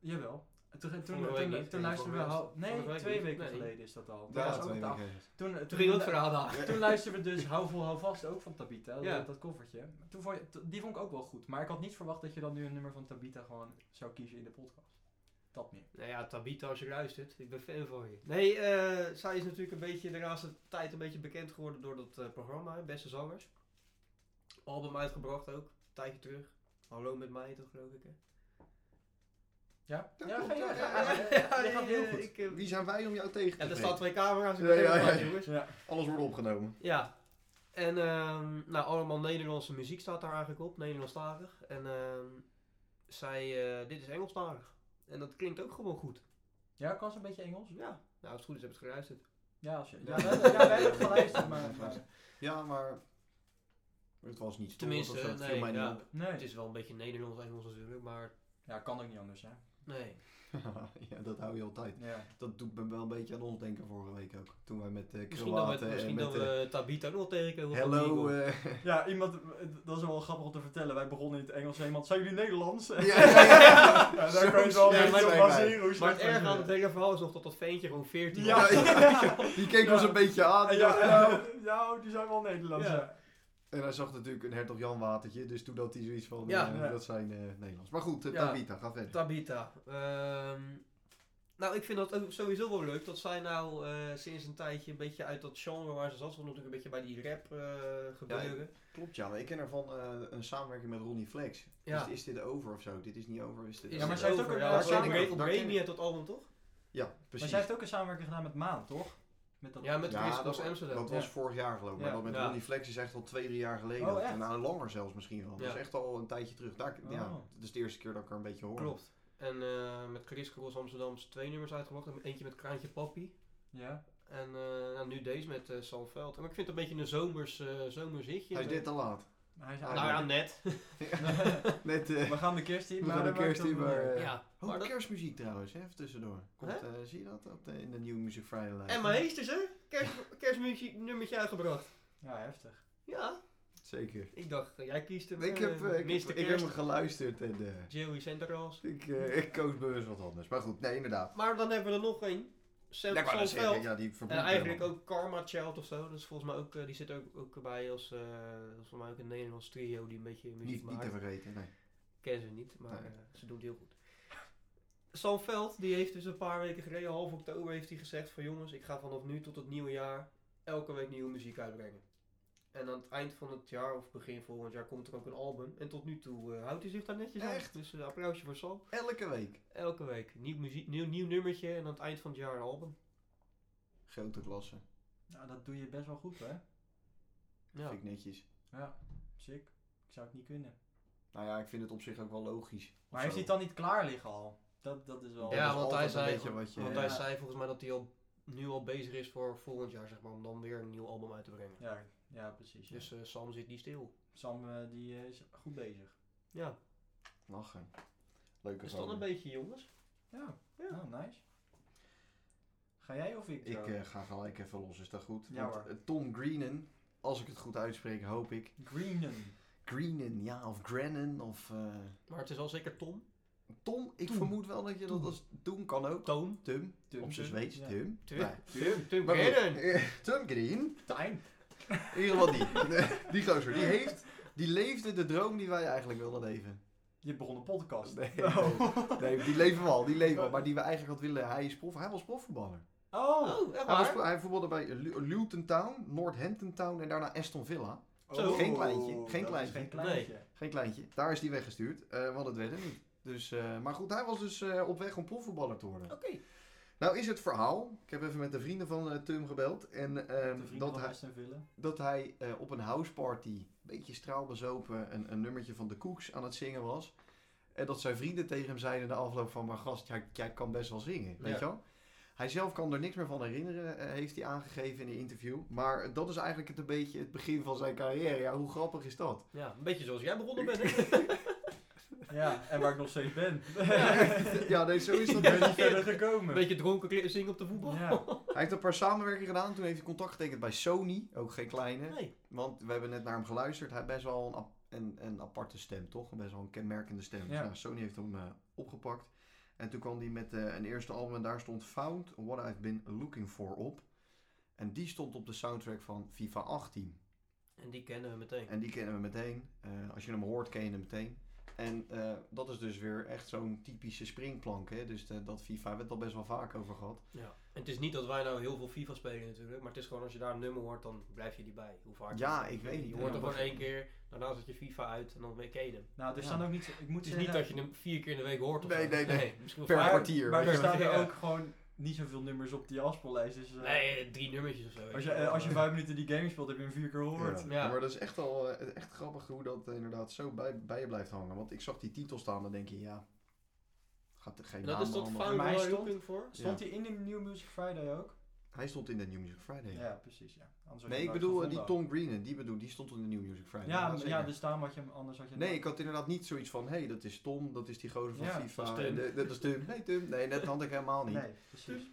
Speaker 1: Jawel. En Toen, toen,
Speaker 3: Vorige
Speaker 1: toen,
Speaker 3: week
Speaker 1: toen,
Speaker 3: niet. Nee,
Speaker 1: luisterden we...
Speaker 3: vorige
Speaker 1: al-
Speaker 3: week
Speaker 1: Nee,
Speaker 3: niet.
Speaker 1: twee weken
Speaker 3: Nee.
Speaker 1: geleden is dat al. Toen
Speaker 2: Ja,
Speaker 1: was ook
Speaker 2: twee
Speaker 1: het al-
Speaker 2: weken.
Speaker 1: Toen,
Speaker 3: Toen ging het verhaal daar.
Speaker 1: Toen luisterden we dus Hou vol hou vast ook van Tabita,
Speaker 3: Ja.
Speaker 1: dat, dat koffertje. Toen vond je- t- die vond ik ook wel goed, maar ik had niet verwacht dat je dan nu een nummer van Tabita gewoon zou kiezen in de podcast. Dat meer.
Speaker 3: Nou ja, Tabita, als je luistert, ik ben fan van je. Nee, eh, zij is natuurlijk een beetje de laatste tijd een beetje bekend geworden door dat eh, programma, hè, Beste Zangers. Album uitgebracht ook, een tijdje terug. Hallo met mij, toch geloof ik, hè?
Speaker 1: Ja? Ja,
Speaker 2: Dat klopt,
Speaker 1: ga je-
Speaker 2: ja,
Speaker 1: ga-
Speaker 2: ja,
Speaker 1: ja,
Speaker 2: ja,
Speaker 1: ja,
Speaker 3: nee,
Speaker 1: je gaat heel
Speaker 3: eh,
Speaker 1: goed.
Speaker 3: ik, eh,
Speaker 2: Wie zijn wij om jou tegen te
Speaker 3: ja, er
Speaker 2: spreken?
Speaker 3: staan twee camera's, ik
Speaker 2: Ja,
Speaker 3: ben
Speaker 2: ja,
Speaker 3: helemaal
Speaker 2: ja.
Speaker 3: uit, jongens.
Speaker 1: Ja.
Speaker 2: Alles wordt opgenomen.
Speaker 3: Ja. En ehm, nou, allemaal Nederlandse muziek staat daar eigenlijk op, Nederlandstalig. En ehm, zij, eh, dit is Engelstalig. En dat klinkt ook gewoon goed.
Speaker 1: ja, kan ze een beetje Engels?
Speaker 3: Ja. Nou, als het goed is, heb ik het geluisterd.
Speaker 1: Ja, als je, ja,
Speaker 2: Ja.
Speaker 1: wij, hebben- ja, wij hebben het geluisterd, maar... maar-
Speaker 2: Ja, maar... Het was niet storend
Speaker 3: Tenminste,
Speaker 2: of zo, het viel
Speaker 3: nee,
Speaker 2: mij niet
Speaker 3: ja.
Speaker 2: op.
Speaker 3: Het
Speaker 1: Nee.
Speaker 3: is wel een beetje Nederlands-Engels natuurlijk, maar
Speaker 1: Ja, kan ook niet anders, hè.
Speaker 3: nee.
Speaker 2: ja, dat hou je altijd.
Speaker 1: Ja.
Speaker 2: Dat doet me wel een beetje aan ons denken vorige week ook. Toen wij met eh
Speaker 3: Misschien dat we,
Speaker 2: Kroaten en
Speaker 3: misschien
Speaker 2: met...
Speaker 3: dat
Speaker 2: eh,
Speaker 3: we Tabita ook nog tegenkomen. van
Speaker 2: Hello...
Speaker 3: Eagle.
Speaker 2: eh,
Speaker 1: ja, iemand... Dat is wel grappig om te vertellen. Wij begonnen in het Engels en iemand... Zijn jullie Nederlands? Ja,
Speaker 2: ja, ja, ja.
Speaker 1: daar kan je het wel
Speaker 2: Zo
Speaker 1: een beetje op
Speaker 2: slecht zijn
Speaker 1: baseren hoe
Speaker 3: maar
Speaker 1: slecht
Speaker 3: het erg
Speaker 1: wij
Speaker 3: aan
Speaker 1: zijn.
Speaker 3: het hele verhaal is nog dat dat ventje gewoon 14
Speaker 1: Ja.
Speaker 3: was.
Speaker 2: wij. Die keek
Speaker 1: Ja.
Speaker 2: ons een beetje aan.
Speaker 1: Ja,
Speaker 2: en
Speaker 1: ja,
Speaker 2: dacht,
Speaker 1: nou, nou, die zijn wel Nederlands,
Speaker 3: Ja.
Speaker 1: ja.
Speaker 2: En hij zag natuurlijk een hertog Jan watertje, dus toen had hij zoiets van,
Speaker 3: Ja.
Speaker 2: eh,
Speaker 1: Ja.
Speaker 2: dat zijn eh, Nederlands. Maar goed, eh,
Speaker 3: Ja.
Speaker 2: Tabita, ga verder.
Speaker 3: Tabita. ehm, nou, ik vind dat ook sowieso wel leuk dat zij nou eh, sinds een tijdje een beetje uit dat genre waar ze zat, ze was natuurlijk een beetje bij die rap eh gebeuren.
Speaker 2: Klopt, ja. maar Ik ken ervan eh, een samenwerking met Ronnie Flex.
Speaker 3: Ja.
Speaker 2: Is, is dit over of zo? Dit is niet over, is dit
Speaker 3: Is
Speaker 1: Ja, maar
Speaker 3: het
Speaker 1: zij heeft
Speaker 3: over?
Speaker 1: ook een-
Speaker 3: ja,
Speaker 1: daar ken
Speaker 3: samen
Speaker 1: ik-
Speaker 3: op
Speaker 2: daar ken
Speaker 3: Remy
Speaker 2: ik.
Speaker 3: uit dat album toch?
Speaker 2: Ja, precies.
Speaker 1: Maar zij heeft ook een samenwerking gedaan met Maan, toch? Met dat...
Speaker 3: Ja, met Chris
Speaker 2: dat,
Speaker 3: Cross Amsterdam.
Speaker 2: dat was vorig jaar geloof ik. Maar
Speaker 1: Ja.
Speaker 2: dat met
Speaker 3: Ja.
Speaker 2: Ronnie Flex is echt al twee, drie jaar geleden.
Speaker 1: Oh, echt?
Speaker 2: Nou, langer zelfs misschien wel. Dat
Speaker 3: Ja.
Speaker 2: is echt al een tijdje terug. Daar, ja,
Speaker 1: Oh.
Speaker 2: dat is de eerste keer dat ik er een beetje hoor.
Speaker 3: Klopt. En eh, met Chris Cross Amsterdam zijn twee nummers uitgebracht. Eentje met Kraantje Papi.
Speaker 1: Ja.
Speaker 3: En eh, nou, nu deze met eh Sam Veld. Maar ik vind het een beetje een zomers, eh zomers hitje.
Speaker 2: Hij is dit te laat.
Speaker 1: Hij is
Speaker 2: Nou
Speaker 3: Nou ja,
Speaker 1: eigenlijk-
Speaker 3: net.
Speaker 2: Net, eh
Speaker 1: We gaan de kerst in,
Speaker 2: we gaan
Speaker 1: maar
Speaker 2: de
Speaker 1: daar
Speaker 2: kerst
Speaker 1: maakt
Speaker 2: in,
Speaker 1: het wel
Speaker 2: maar...
Speaker 1: weer.
Speaker 2: eh,
Speaker 3: Ja.
Speaker 2: oh,
Speaker 3: Maar dat-
Speaker 2: kerstmuziek trouwens, hè, even tussendoor. Komt, eh, zie je dat op de, in de nieuwe Music Friday lijst?
Speaker 3: En mijn heesters hè? Kerst, kerstmuziek nummertje uitgebracht.
Speaker 1: Ja, heftig.
Speaker 3: Ja.
Speaker 2: Zeker.
Speaker 3: Ik dacht, eh, jij kiest hem.
Speaker 2: Ik
Speaker 3: eh,
Speaker 2: heb, eh, ik,
Speaker 3: Mr.
Speaker 2: heb, ik heb
Speaker 3: Kerst,
Speaker 2: hem geluisterd en eh,
Speaker 3: Joey Sanderals.
Speaker 2: ik, eh, ik koos bewust wat anders. Maar goed, nee, inderdaad.
Speaker 3: Maar dan hebben we er nog één. Sam
Speaker 2: ik wou net zeggen,
Speaker 3: Zandveld.
Speaker 2: ja, die
Speaker 3: En
Speaker 2: verbloemt
Speaker 3: eigenlijk
Speaker 2: helemaal.
Speaker 3: ook Karma Child of zo. Dat is volgens mij ook, eh, die zit ook, ook erbij als, eh, dat is volgens mij ook een Nederlands trio die een beetje muziek
Speaker 2: Niet, niet
Speaker 3: maakt.
Speaker 2: te vergeten, nee.
Speaker 3: ken ze niet, maar
Speaker 2: Nee.
Speaker 3: eh, ze doen het heel goed. Sam Veld, die heeft dus een paar weken geleden, half oktober, heeft hij gezegd van jongens, ik ga vanaf nu tot het nieuwe jaar elke week nieuwe muziek uitbrengen. En aan het eind van het jaar of begin volgend jaar komt er ook een album. En tot nu toe eh, houdt hij zich daar netjes aan.
Speaker 2: Echt?
Speaker 3: Dus een applausje voor Sam.
Speaker 2: Elke week.
Speaker 3: Elke week nieuw, muziek, nieuw, nieuw nummertje en aan het eind van het jaar een album.
Speaker 2: Grote klasse.
Speaker 1: Nou, dat doe je best wel goed, hè?
Speaker 3: Ja.
Speaker 2: Vind ik netjes.
Speaker 1: Ja, sick. Ik zou het niet kunnen.
Speaker 2: Nou ja, ik vind het op zich ook wel logisch. Of
Speaker 1: Maar heeft
Speaker 2: zo.
Speaker 1: hij het dan niet klaar liggen al? Dat, dat is wel...
Speaker 2: Ja,
Speaker 3: Ja,
Speaker 2: is
Speaker 3: want hij,
Speaker 2: altijd een
Speaker 3: zei,
Speaker 2: beetje wat je-
Speaker 3: want hij
Speaker 1: Ja.
Speaker 3: zei volgens mij dat hij al, nu al bezig is voor volgend jaar, zeg maar, om dan weer een nieuw album uit te brengen.
Speaker 1: Ja, ja precies. ja.
Speaker 3: Dus eh, Sam zit niet stil.
Speaker 1: Sam eh, die eh, is goed bezig.
Speaker 3: Ja,
Speaker 2: Lachen. Leuke
Speaker 3: is dat
Speaker 2: gozer.
Speaker 3: een beetje jongens?
Speaker 1: Ja,
Speaker 3: Ja.
Speaker 1: nou, nice. Ga jij of ik?
Speaker 2: Ik
Speaker 1: Joe?
Speaker 2: eh, ga gelijk even los, is dat goed?
Speaker 1: Ja,
Speaker 2: Want,
Speaker 1: hoor.
Speaker 2: eh, Tom Greenan, als ik het goed uitspreek, hoop ik.
Speaker 1: Greenen.
Speaker 2: Greenan, ja, of Grennan, of... eh,
Speaker 3: Maar het is al zeker Tom.
Speaker 2: Tom, ik
Speaker 1: Tom.
Speaker 2: vermoed wel dat je dat
Speaker 1: Tom.
Speaker 2: als... Toen kan ook.
Speaker 3: Toon.
Speaker 2: Tum,
Speaker 1: Tum,
Speaker 2: op zijn
Speaker 1: Tum,
Speaker 2: Zweeds,
Speaker 1: ja.
Speaker 2: Tum.
Speaker 3: Tum.
Speaker 2: Nou,
Speaker 3: Tim. Tim
Speaker 2: maar goed,
Speaker 3: Geren.
Speaker 2: eh, Tum Green,
Speaker 1: Time.
Speaker 2: in ieder geval die. die gozer, die heeft... Die leefde de droom die wij eigenlijk wilden leven.
Speaker 1: Je begon een podcast.
Speaker 2: Nee,
Speaker 1: Oh.
Speaker 2: Nee, die leven we al, die leven we al. Maar die we eigenlijk hadden willen... Hij, is prof, hij was profvoetballer.
Speaker 1: Oh.
Speaker 3: Oh, echt
Speaker 2: Hij, was,
Speaker 3: waar?
Speaker 2: hij voetbalde bij Lu- Luton Town, Northampton Town en daarna Aston Villa.
Speaker 3: Zo.
Speaker 2: Geen kleintje,
Speaker 1: Oh, dat
Speaker 2: geen
Speaker 1: is
Speaker 2: kleintje. Ehm,
Speaker 1: Geen kleintje.
Speaker 2: Geen kleintje. Daar is hij weggestuurd, eh, want het werd hem niet. Dus, eh, maar goed, hij was dus eh, op weg om profvoetballer te worden.
Speaker 3: Oké.
Speaker 2: Nou is het verhaal, ik heb even met de vrienden van eh, Tum gebeld. En ehm,
Speaker 1: De vrienden
Speaker 2: dat,
Speaker 1: van
Speaker 2: hij,
Speaker 1: Aston Villa.
Speaker 2: dat hij eh, op een houseparty, een beetje straalbezopen, een, een nummertje van de Koeks aan het zingen was. En dat zijn vrienden tegen hem zeiden na afloop van, maar gast, jij, jij kan best wel zingen, weet
Speaker 3: Ja.
Speaker 2: je wel? Hij zelf kan er niks meer van herinneren, eh, heeft hij aangegeven in een interview. Maar dat is eigenlijk het, een beetje het begin van zijn carrière. Ja, hoe grappig is dat?
Speaker 3: Ja, een beetje zoals jij begonnen bent. hè?
Speaker 1: Ja, en waar ik nog steeds ben.
Speaker 2: ja, nee, zo is dat.
Speaker 1: Ik
Speaker 2: dus.
Speaker 1: ben niet verder gekomen.
Speaker 3: een beetje dronken kle- zingen op de voetbal.
Speaker 1: Ja.
Speaker 2: Hij heeft een paar samenwerkingen gedaan. Toen heeft hij contact getekend bij Sony, ook geen kleine.
Speaker 3: Nee.
Speaker 2: Want we hebben net naar hem geluisterd. Hij heeft best wel een, ap- een, een aparte stem, toch? Best wel een kenmerkende stem. Dus
Speaker 1: Ja.
Speaker 2: nou, Sony heeft hem eh, opgepakt. En toen kwam hij met eh, een eerste album en daar stond Found What I've Been Looking For op. En die stond op de soundtrack van FIFA 18.
Speaker 3: En die kennen we meteen.
Speaker 2: En die kennen we meteen. Eh, als je hem hoort, ken je hem meteen. En eh, dat is dus weer echt zo'n typische springplank. Hè? Dus de- dat FIFA hebben we het al best wel vaak over gehad.
Speaker 3: Ja. En het is niet dat wij nou heel veel FIFA spelen natuurlijk, maar het is gewoon als je daar een nummer hoort, dan blijf je die bij. Hoe vaak?
Speaker 2: Ja,
Speaker 3: je-
Speaker 2: ik weet niet.
Speaker 3: Je hoort
Speaker 2: Ja,
Speaker 3: hem gewoon
Speaker 2: maar-
Speaker 3: één keer, daarna zet je FIFA uit en dan ken je hem.
Speaker 1: Nou, er
Speaker 2: Ja.
Speaker 1: staan ook niet... zo- Ik moet
Speaker 3: Het is niet
Speaker 1: zeggen-
Speaker 3: dat je hem vier keer in de week hoort of
Speaker 2: Nee,
Speaker 3: zo.
Speaker 2: nee, nee.
Speaker 3: misschien
Speaker 2: Per
Speaker 3: wel vaak.
Speaker 2: kwartier.
Speaker 1: Maar
Speaker 2: weet
Speaker 1: er
Speaker 2: je wel.
Speaker 1: staan er
Speaker 3: Ja.
Speaker 1: ook gewoon niet zoveel nummers op die afspeellijst. Dus, eh,
Speaker 3: Nee, drie nummertjes of zo. weet
Speaker 1: Als je,
Speaker 3: wel.
Speaker 1: eh, als je vijf minuten die game speelt, heb je hem vier keer gehoord.
Speaker 2: Ja.
Speaker 3: Ja.
Speaker 2: Maar dat is echt wel eh, echt grappig hoe dat eh, inderdaad zo bij, bij je blijft hangen. Want ik zag die titel staan, dan denk je, ja, gaat er geen
Speaker 3: Dat is
Speaker 2: namen
Speaker 3: tot
Speaker 2: allemaal-
Speaker 3: Found
Speaker 1: mij
Speaker 3: What
Speaker 1: stond-
Speaker 3: Looking For?
Speaker 1: Stond hij in de New Music Friday ook?
Speaker 2: Hij stond in de New Music Friday.
Speaker 1: Ja, precies. Ja. Anders had je hem
Speaker 2: Nee, ik
Speaker 1: nooit
Speaker 2: bedoel eh, die
Speaker 1: gevonden.
Speaker 2: Tom Green, die bedoel, die stond in de New Music Friday.
Speaker 1: Ja, maar-
Speaker 2: zeker.
Speaker 1: ja, dus daarom had je hem anders had je hem
Speaker 2: Nee,
Speaker 1: nooit.
Speaker 2: ik had inderdaad niet zoiets van, hé, hey, dat is Tom, dat is die gozer van
Speaker 1: Ja,
Speaker 2: FIFA.
Speaker 3: dat is Tim.
Speaker 2: en de- dat is Tim. Nee, Tim. Nee, dat had ik helemaal niet.
Speaker 1: Nee, precies.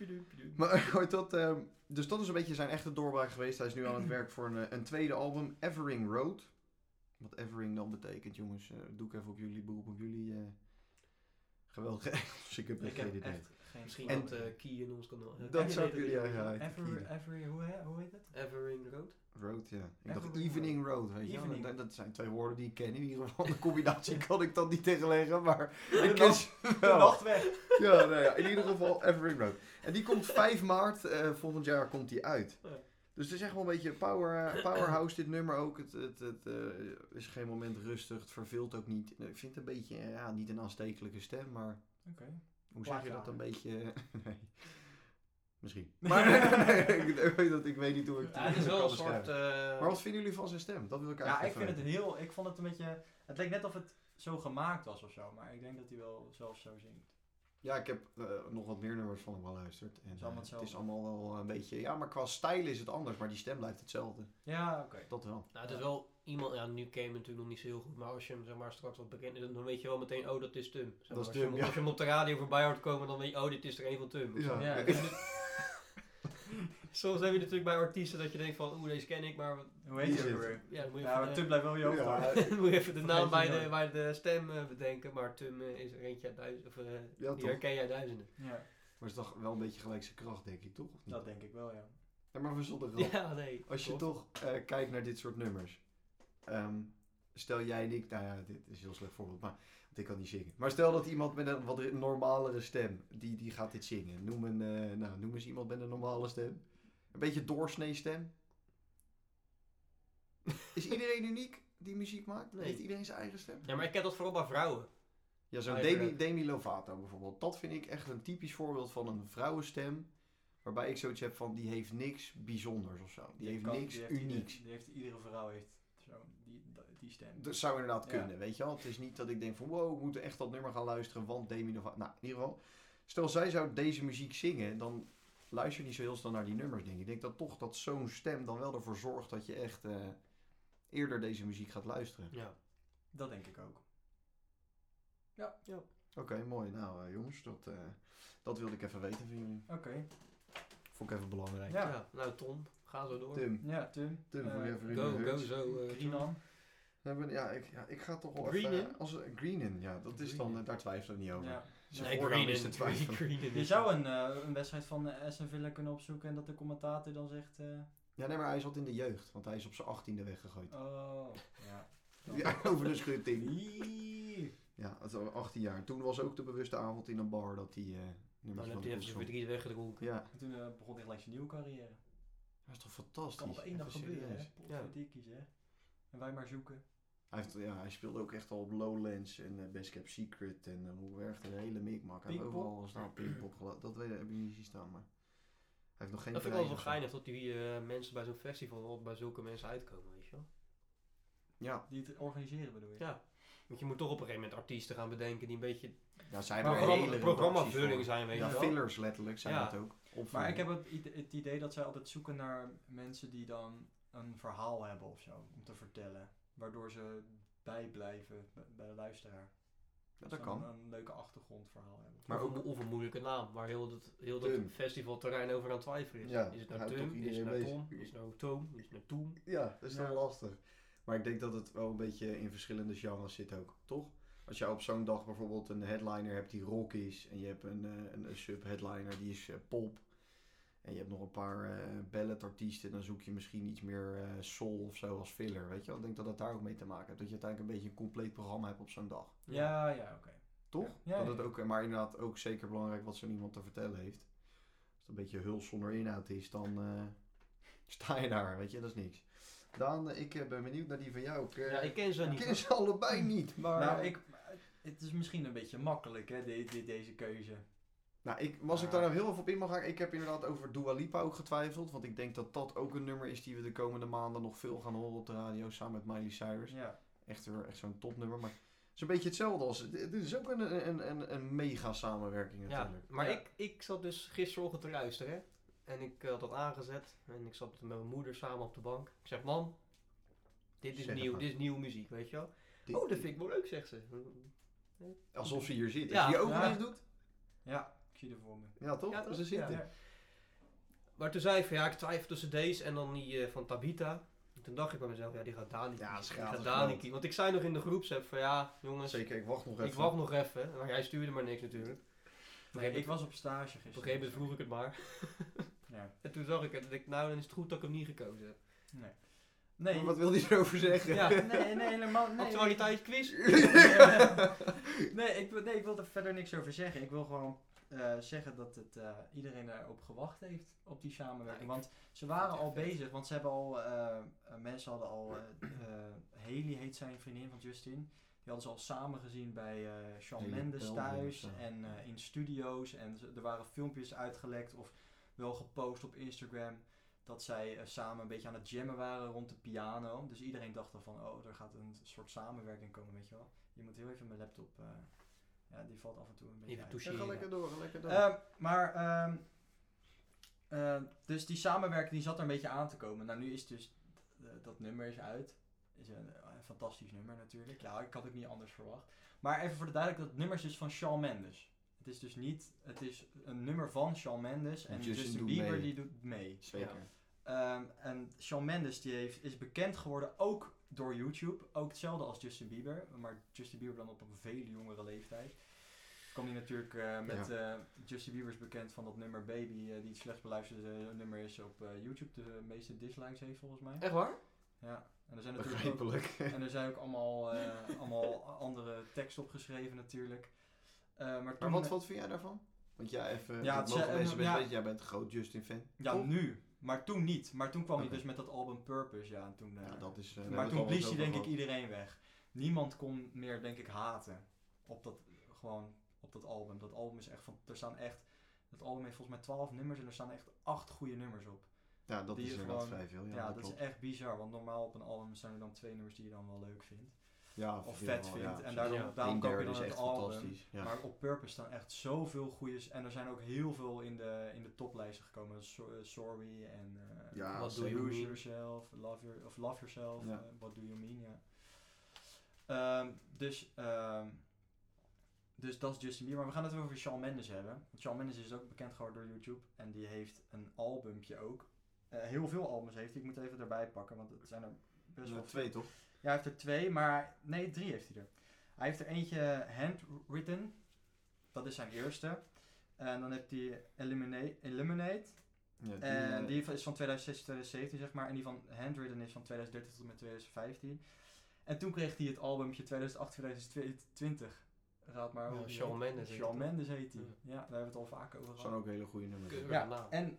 Speaker 2: Maar ooit dat, ehm, dus dat is een beetje zijn echte doorbraak geweest. Hij is nu aan het werk voor een, eh, een tweede album, Evering Road. Wat Evering dan betekent, jongens, eh, doe ik even op jullie, beroep op jullie. eh geweldige Engels, ik heb
Speaker 1: Ik
Speaker 2: geen
Speaker 1: heb
Speaker 2: idee.
Speaker 1: echt geen
Speaker 3: Misschien
Speaker 2: En-
Speaker 3: dat eh Key in ons kanaal. eh,
Speaker 2: Dat
Speaker 3: Key
Speaker 2: zou
Speaker 3: heet
Speaker 2: ik-
Speaker 3: het.
Speaker 2: ja, ja. uit de
Speaker 1: Every,
Speaker 2: kieden.
Speaker 1: every, hoe, he- hoe heet het?
Speaker 3: Evering Road?
Speaker 2: Road, ja. Ik dacht
Speaker 1: Evering
Speaker 2: Evening Road, weet je wel.
Speaker 1: Evening.
Speaker 2: Dat, dat zijn twee woorden die ik ken. In ieder geval, de combinatie kan ik dan niet tegenleggen, maar
Speaker 1: De
Speaker 2: ik ken
Speaker 1: nacht-
Speaker 2: ze
Speaker 1: De
Speaker 2: wel.
Speaker 1: nacht weg.
Speaker 2: Ja, nou ja, in ieder geval Every Road. En die komt 5 maart eh, volgend jaar komt die uit.
Speaker 3: Ja.
Speaker 2: Dus het is echt wel een beetje power, eh, powerhouse dit nummer ook. Het, het, het eh, is geen moment rustig, het verveelt ook niet. Ik vind het een beetje, eh, ja, niet een aanstekelijke stem, maar
Speaker 1: Oké.
Speaker 2: hoe zeg je dat
Speaker 1: Plagiaat.
Speaker 2: een beetje? nee. Misschien. Maar ik, ik weet dat, ik weet niet hoe ik
Speaker 3: Ja, het is wel
Speaker 2: kan
Speaker 3: een soort...
Speaker 2: beschrijven.
Speaker 3: eh,
Speaker 2: Maar wat vinden jullie van zijn stem? Dat wil ik
Speaker 1: Ja, ik
Speaker 2: eigenlijk
Speaker 1: vind het
Speaker 2: even
Speaker 1: een heel... Ik vond het een beetje... Het leek net of het zo gemaakt was of zo. Maar ik denk dat hij wel zelf zo zingt.
Speaker 2: Ja, ik heb eh, nog wat meer nummers van hem geluisterd. En,
Speaker 1: is
Speaker 2: eh,
Speaker 1: allemaal
Speaker 2: het is
Speaker 1: hetzelfde.
Speaker 2: allemaal wel een beetje... Ja, maar qua stijl is het anders, maar die stem blijft hetzelfde.
Speaker 1: Ja, oké.
Speaker 2: Dat wel.
Speaker 3: nou, het is wel iemand... Ja, nu ken je hem natuurlijk nog niet zo heel goed. Maar als je hem zeg maar, straks wat bekend is, dan weet je wel meteen... Oh, dat is Tum. Zeg maar,
Speaker 2: is
Speaker 3: als, je
Speaker 2: Tum,
Speaker 3: hem,
Speaker 2: ja.
Speaker 3: als je hem op de radio voorbij hoort komen, dan weet je... Oh, dit is er een van Tum.
Speaker 2: Ja.
Speaker 1: Ja,
Speaker 2: Ja.
Speaker 1: ik vind het-
Speaker 3: Soms heb je natuurlijk bij artiesten dat je denkt van, oeh, deze ken ik, maar wat-
Speaker 1: Hoe heet
Speaker 2: Die
Speaker 1: je
Speaker 2: zit.
Speaker 1: ook weer?
Speaker 3: ja, dan moet je
Speaker 1: Ja, maar
Speaker 3: even,
Speaker 1: Tub blijft wel je hoofd
Speaker 2: Ja,
Speaker 1: houden.
Speaker 3: eh, moet je even de naam bij
Speaker 1: vergeet je
Speaker 3: de,
Speaker 1: nooit.
Speaker 3: bij de stem eh, bedenken, maar Tum eh, is er eentje uit duizenden, of eh,
Speaker 2: ja,
Speaker 3: die
Speaker 2: toch.
Speaker 3: herken jij duizenden.
Speaker 1: Ja,
Speaker 2: Maar het is toch wel een beetje gelijk zijn kracht, denk ik, toch? Of niet?
Speaker 1: dat denk ik wel, ja.
Speaker 2: Ja, maar we zonder grap.
Speaker 3: Ja, nee.
Speaker 2: Als je
Speaker 3: klopt.
Speaker 2: toch eh, kijkt naar dit soort nummers. Ehm, stel jij en ik, nou ja, dit is een heel slecht voorbeeld, maar want ik kan niet zingen. Maar stel dat iemand met een wat re- normalere stem, die, die gaat dit zingen. Noem, een, eh, nou, noem eens iemand met een normale stem. Een beetje doorsnee stem. Is iedereen uniek die muziek maakt?
Speaker 3: Nee.
Speaker 2: Heeft iedereen zijn eigen stem?
Speaker 3: Ja, maar ik ken dat vooral bij vrouwen.
Speaker 2: Ja, zo'n
Speaker 3: Eigen
Speaker 2: Demi,
Speaker 3: rap.
Speaker 2: Demi Lovato bijvoorbeeld. Dat vind ik echt een typisch voorbeeld van een vrouwenstem. Waarbij ik zoiets heb van, die heeft niks bijzonders of zo. Die, heeft
Speaker 1: kan-
Speaker 2: niks
Speaker 1: die heeft ieder-
Speaker 2: unieks.
Speaker 1: die heeft, iedere vrouw heeft zo, die, die stem.
Speaker 2: Dat zou inderdaad
Speaker 1: Ja.
Speaker 2: kunnen, weet je wel. Het is niet dat ik denk van, wow, we moeten echt dat nummer gaan luisteren, want Demi Lovato... Nou, in ieder geval, stel zij zou deze muziek zingen, dan luister je niet zo heel snel naar die nummers, denk ik. Ik denk dat toch dat zo'n stem dan wel ervoor zorgt dat je echt eh, eerder deze muziek gaat luisteren.
Speaker 3: Ja.
Speaker 1: Dat denk ik ook.
Speaker 2: Oké, mooi. Nou, eh, jongens, dat, eh, dat wilde ik even weten van jullie.
Speaker 1: Oké.
Speaker 2: Vond ik even belangrijk.
Speaker 1: Ja.
Speaker 3: Ja, Nou, Tom, ga zo door.
Speaker 2: Tim,
Speaker 1: Ja, Tim.
Speaker 2: Tim,
Speaker 1: Eh,
Speaker 2: voor je even
Speaker 3: Go,
Speaker 2: in de
Speaker 3: go,
Speaker 2: hurt.
Speaker 3: zo. eh, Tom.
Speaker 1: Greenan.
Speaker 2: Dan hebben we- Ja, ik, ja, ik ga toch wel
Speaker 3: Green
Speaker 2: even...
Speaker 3: in?
Speaker 2: Als, Green in, ja. Dat is dan,
Speaker 3: Green in.
Speaker 2: eh, daar twijfel ik niet over.
Speaker 1: Ja.
Speaker 2: Zijn
Speaker 3: Nee,
Speaker 2: voornaam
Speaker 3: Greenan.
Speaker 2: is te twijfelen.
Speaker 3: Greenan
Speaker 1: Je
Speaker 3: is-
Speaker 1: zou een, eh, een wedstrijd van eh, SN Villa kunnen opzoeken en dat de commentator dan zegt... eh,
Speaker 2: Ja, nee, maar hij zat in de jeugd, want hij is op zijn achttiende weggegooid.
Speaker 1: oh, ja.
Speaker 2: Ja, over de schutting.
Speaker 1: Ie.
Speaker 2: Ja, dat was 18 jaar. Toen was ook de bewuste avond in een bar dat hij eh
Speaker 3: Dan
Speaker 2: nummertje
Speaker 3: heb
Speaker 2: van
Speaker 3: je
Speaker 2: de
Speaker 3: even
Speaker 2: Koets
Speaker 3: zijn
Speaker 2: zong.
Speaker 3: verdriet weggedronken.
Speaker 2: Ja,
Speaker 1: En toen eh, begon hij gelijk zijn nieuwe carrière.
Speaker 2: dat is toch
Speaker 1: Dat kan
Speaker 2: fantastisch.
Speaker 1: op één dag
Speaker 2: Even
Speaker 1: gebeuren,
Speaker 2: serieus.
Speaker 1: hè. Potverdikkie, hè. En wij maar zoeken.
Speaker 2: Hij, heeft, ja, hij speelde ook echt al op Lowlands en eh, Best Cap Secret en eh, hoe werkt de hele mikmak. Hij heeft
Speaker 1: Pinkpop?
Speaker 2: overal staan Pinkpop gelaten. Dat weet, ik- heb ik niet zien staan, maar hij heeft nog geen
Speaker 3: Dat vind ik
Speaker 2: prijs
Speaker 3: wel wel
Speaker 2: of zo.
Speaker 3: geinig dat die eh, mensen bij zo'n festival wel bij zulke mensen uitkomen, weet je wel.
Speaker 2: Ja,
Speaker 1: Die het organiseren bedoel je?
Speaker 3: Ja. Want je moet toch op een gegeven moment artiesten gaan bedenken die een beetje
Speaker 2: ja zij hebben
Speaker 1: Programma-
Speaker 2: hele
Speaker 3: programma- programmavulling
Speaker 2: redacties voor.
Speaker 3: zijn, weet je
Speaker 2: Ja,
Speaker 3: wel.
Speaker 2: fillers letterlijk zijn
Speaker 3: Ja.
Speaker 2: dat ook. eh,
Speaker 1: Maar
Speaker 2: Opvulling.
Speaker 1: ik heb het, ide- het idee dat zij altijd zoeken naar mensen die dan een verhaal hebben of zo, om te vertellen. Waardoor ze bijblijven b- bij de luisteraar.
Speaker 2: Ja,
Speaker 1: Ze
Speaker 2: dat kan.
Speaker 1: Een, een leuke achtergrondverhaal hebben.
Speaker 2: Maar
Speaker 3: Maar
Speaker 2: ook-
Speaker 3: ook of een moeilijke naam, waar heel dat, heel dat
Speaker 2: Tum.
Speaker 3: festivalterrein over aan het twijfelen is.
Speaker 2: Ja,
Speaker 3: is het nou
Speaker 2: houdt toch
Speaker 3: Tum,
Speaker 2: iedereen
Speaker 3: is het nou
Speaker 2: bezig.
Speaker 3: Tom, is het nou Toom, is het nou Toem?
Speaker 2: Ja, dat is dan
Speaker 1: Ja.
Speaker 2: lastig. Maar ik denk dat het wel een beetje in verschillende genres zit ook, toch? Als jij op zo'n dag bijvoorbeeld een headliner hebt die rock is, en je hebt een, eh, een, een sub-headliner die is eh, pop, en je hebt nog een paar eh balladartiesten, dan zoek je misschien iets meer eh, soul of zo als filler, weet je wel? Ik denk dat dat daar ook mee te maken heeft, dat je uiteindelijk een beetje een compleet programma hebt op zo'n dag,
Speaker 1: Ja, ja, oké.
Speaker 2: toch?
Speaker 1: Ja, ja,
Speaker 2: dat het
Speaker 1: ja.
Speaker 2: ook, maar inderdaad ook zeker belangrijk wat zo'n iemand te vertellen heeft. Als het een beetje huls zonder inhoud is, dan eh, sta je daar, weet je, dat is niks. Daan, eh, ik eh, ben benieuwd naar die van jou. Ik, eh,
Speaker 3: Ja, ik ken ze
Speaker 2: ik
Speaker 3: niet.
Speaker 2: ken ze allebei niet, maar...
Speaker 1: Nou,
Speaker 2: eh,
Speaker 1: ik, het is misschien een beetje makkelijk, hè, de- de- deze keuze.
Speaker 2: nou, ik, als ik daar nou heel even op in mag gaan, ik heb inderdaad over Dua Lipa ook getwijfeld. Want ik denk dat dat ook een nummer is die we de komende maanden nog veel gaan horen op de radio, samen met Miley Cyrus.
Speaker 1: Ja.
Speaker 2: Echt, weer- echt zo'n topnummer, maar het is een beetje hetzelfde als... Dit dit is ook een, een, een, een mega samenwerking
Speaker 3: Ja,
Speaker 2: natuurlijk.
Speaker 3: maar
Speaker 1: Ja.
Speaker 3: Ik, ik zat dus gisterochtend te luisteren. hè. En ik eh, had dat aangezet. En ik zat met mijn moeder samen op de bank. Ik zeg, mam, dit is
Speaker 2: Zeg het
Speaker 3: nieuw,
Speaker 2: maar."
Speaker 3: dit is nieuwe muziek, weet je wel.
Speaker 2: Dit-
Speaker 3: Oh, dat vind ik wel leuk, zegt ze.
Speaker 2: Alsof ze hier zit. Als
Speaker 3: Ja.
Speaker 2: je je ogen
Speaker 1: Ja.
Speaker 2: dicht doet...
Speaker 1: Ja, ik zie er voor me.
Speaker 2: Ja, toch?
Speaker 3: Ja, toch?
Speaker 2: Ze zitten.
Speaker 3: Ja. Maar toen zei ik van, ja, ik twijfel tussen deze en dan die eh, van Tabita. En toen dacht ik bij mezelf, ja, die gaat Dani
Speaker 2: Ja,
Speaker 3: kiezen.
Speaker 2: ze
Speaker 3: Die
Speaker 2: gaat
Speaker 3: gaat
Speaker 2: het
Speaker 3: Dani
Speaker 2: wel.
Speaker 3: kiezen. Want ik zei nog in de groepsapp van, ja, jongens,
Speaker 2: Zeker, ik wacht nog even.
Speaker 3: ik wacht nog even. Maar jij stuurde maar niks natuurlijk. Op een
Speaker 1: Nee,
Speaker 3: gegeven
Speaker 1: ik
Speaker 3: moment-
Speaker 1: was op stage gisteren.
Speaker 3: op een gegeven moment vroeg ik het maar.
Speaker 1: Ja.
Speaker 3: En toen zag ik het en ik, nou, dan is het goed dat ik hem niet gekozen heb.
Speaker 1: Nee. Nee,
Speaker 2: Maar wat wil hij erover zeggen?
Speaker 3: Ja,
Speaker 1: nee, nee, helemaal nee.
Speaker 3: Actualiteit quiz.
Speaker 1: nee, ik, wil- nee, ik wil er verder niks over zeggen. Ik wil gewoon eh, zeggen dat het, eh, iedereen daarop gewacht heeft, op die samenwerking.
Speaker 3: Ja, ik
Speaker 1: want ze waren
Speaker 3: het
Speaker 1: al
Speaker 3: echt vet.
Speaker 1: bezig, want ze hebben al, eh, eh, mensen hadden al, eh eh, Haley heet zijn vriendin van Justin, die hadden ze al samen gezien bij eh Shawn
Speaker 2: Haley
Speaker 1: Mendes
Speaker 2: Belden of
Speaker 1: thuis
Speaker 2: zo.
Speaker 1: en eh, in studio's. En ze- er waren filmpjes uitgelekt of wel gepost op Instagram. Dat zij eh, samen een beetje aan het jammen waren rond de piano. Dus iedereen dacht dan van, oh, er gaat een soort samenwerking komen, weet je wel. Je moet heel even mijn laptop... eh, ja, die valt af en toe een beetje
Speaker 3: Even
Speaker 1: uit.
Speaker 3: toucheren.
Speaker 2: Ja, ga lekker door, ga lekker door.
Speaker 1: Ehm, maar, ehm, ehm, dus die samenwerking die zat er een beetje aan te komen. Nou, nu is dus, eh, dat nummer is uit. Is een, eh, een fantastisch nummer natuurlijk. Ja, ik had het niet anders verwacht. Maar even voor de duidelijkheid, dat nummer is dus van Shawn Mendes. Het is dus niet, het is een nummer van Shawn Mendes en
Speaker 2: Justin
Speaker 1: Justin,
Speaker 2: doet
Speaker 1: Bieber
Speaker 2: mee.
Speaker 1: die doet mee.
Speaker 2: Zeker.
Speaker 1: Ehm, en Shawn Mendes die heeft, is bekend geworden ook door YouTube. Ook hetzelfde als Justin Bieber. Maar Justin Bieber dan op een veel jongere leeftijd. Kwam hij natuurlijk eh, met eh, Justin Bieber is bekend van dat nummer Baby. eh, die het slechts beluisterde nummer is op eh, YouTube. De meeste dislikes heeft volgens mij.
Speaker 3: Echt waar?
Speaker 1: Ja. En er zijn natuurlijk ook
Speaker 2: Begrijpelijk.
Speaker 1: en er zijn ook allemaal, eh, allemaal andere teksten opgeschreven natuurlijk. Eh, maar
Speaker 2: Maar
Speaker 1: toen-
Speaker 2: wat, wat vind jij daarvan? Want jij even,
Speaker 1: Ja,
Speaker 2: ja,
Speaker 1: het
Speaker 2: mogen
Speaker 1: zijn-
Speaker 2: mensen best
Speaker 1: ja.
Speaker 2: weten, jij bent een groot Justin-fan.
Speaker 1: Ja,
Speaker 2: Toch?
Speaker 1: nu. Maar toen niet. Maar toen kwam
Speaker 2: Oké.
Speaker 1: hij dus met dat album Purpose. Ja, en toen, eh,
Speaker 2: Ja, dat is... eh, daar
Speaker 1: maar
Speaker 2: hebben we
Speaker 1: toen
Speaker 2: het al eens
Speaker 1: blies hij
Speaker 2: over
Speaker 1: denk ik
Speaker 2: gehad.
Speaker 1: iedereen weg. Niemand kon meer, denk ik, haten op dat, gewoon, op dat album. Dat album is echt van, er staan echt, dat album heeft volgens mij twaalf nummers en er staan echt acht goede nummers op.
Speaker 2: Ja, dat
Speaker 1: die
Speaker 2: is
Speaker 1: je
Speaker 2: inderdaad
Speaker 1: gewoon-
Speaker 2: vrij veel. Ja,
Speaker 1: Ja,
Speaker 2: dat
Speaker 1: dat is
Speaker 2: klopt.
Speaker 1: echt bizar, want normaal op een album zijn er dan twee nummers die je dan wel leuk vindt.
Speaker 2: ja,
Speaker 1: Of
Speaker 2: veel
Speaker 1: vet
Speaker 2: wel,
Speaker 1: vindt.
Speaker 2: ja,
Speaker 1: en
Speaker 2: precies.
Speaker 1: daarom,
Speaker 5: Ja.
Speaker 1: daarom
Speaker 2: Een
Speaker 1: koop je
Speaker 2: derde
Speaker 1: dan
Speaker 2: is
Speaker 1: het
Speaker 2: echt
Speaker 1: album.
Speaker 2: fantastisch. Ja.
Speaker 1: Maar op Purpose staan echt zoveel goeies. En er zijn ook heel veel in de, in de toplijsten gekomen. So- eh, Sorry en eh,
Speaker 2: Ja,
Speaker 1: What Do
Speaker 2: zeker.
Speaker 1: You Mean? Yourself, Love, your, of love Yourself,
Speaker 2: Ja.
Speaker 1: eh, What Do You Mean, ja. Ehm, dus, ehm, dus dat is Justin Bieber. Maar we gaan het even over Shawn Mendes hebben. Want Shawn Mendes is ook bekend geworden door YouTube. En die heeft een albumpje ook. Eh, heel veel albums heeft hij. Ik moet even erbij pakken, want het zijn er best
Speaker 2: Ja,
Speaker 1: wel
Speaker 2: twee toch?
Speaker 1: ja, hij heeft er twee, maar nee, drie heeft hij er. Hij heeft er eentje handwritten. Dat is zijn eerste. En dan heeft hij Eliminate. Eliminate.
Speaker 2: Ja, die,
Speaker 1: En
Speaker 2: eh,
Speaker 1: die is van 2016, 2017 zeg maar. En die van Handwritten is van 2013 tot en met 2015. En toen kreeg hij het albumpje 2008, 2020. Raad maar
Speaker 5: Ja,
Speaker 1: hoe die
Speaker 5: Shawn
Speaker 1: heet.
Speaker 5: Mendes heet
Speaker 1: Shawn
Speaker 5: het, hè?
Speaker 1: Mendes heet hij.
Speaker 5: Ja.
Speaker 1: Ja. daar hebben we het al vaak over
Speaker 2: zijn
Speaker 1: gehad.
Speaker 2: ook hele goede nummers.
Speaker 5: Keurig.
Speaker 1: Ja,
Speaker 5: naam.
Speaker 1: en ik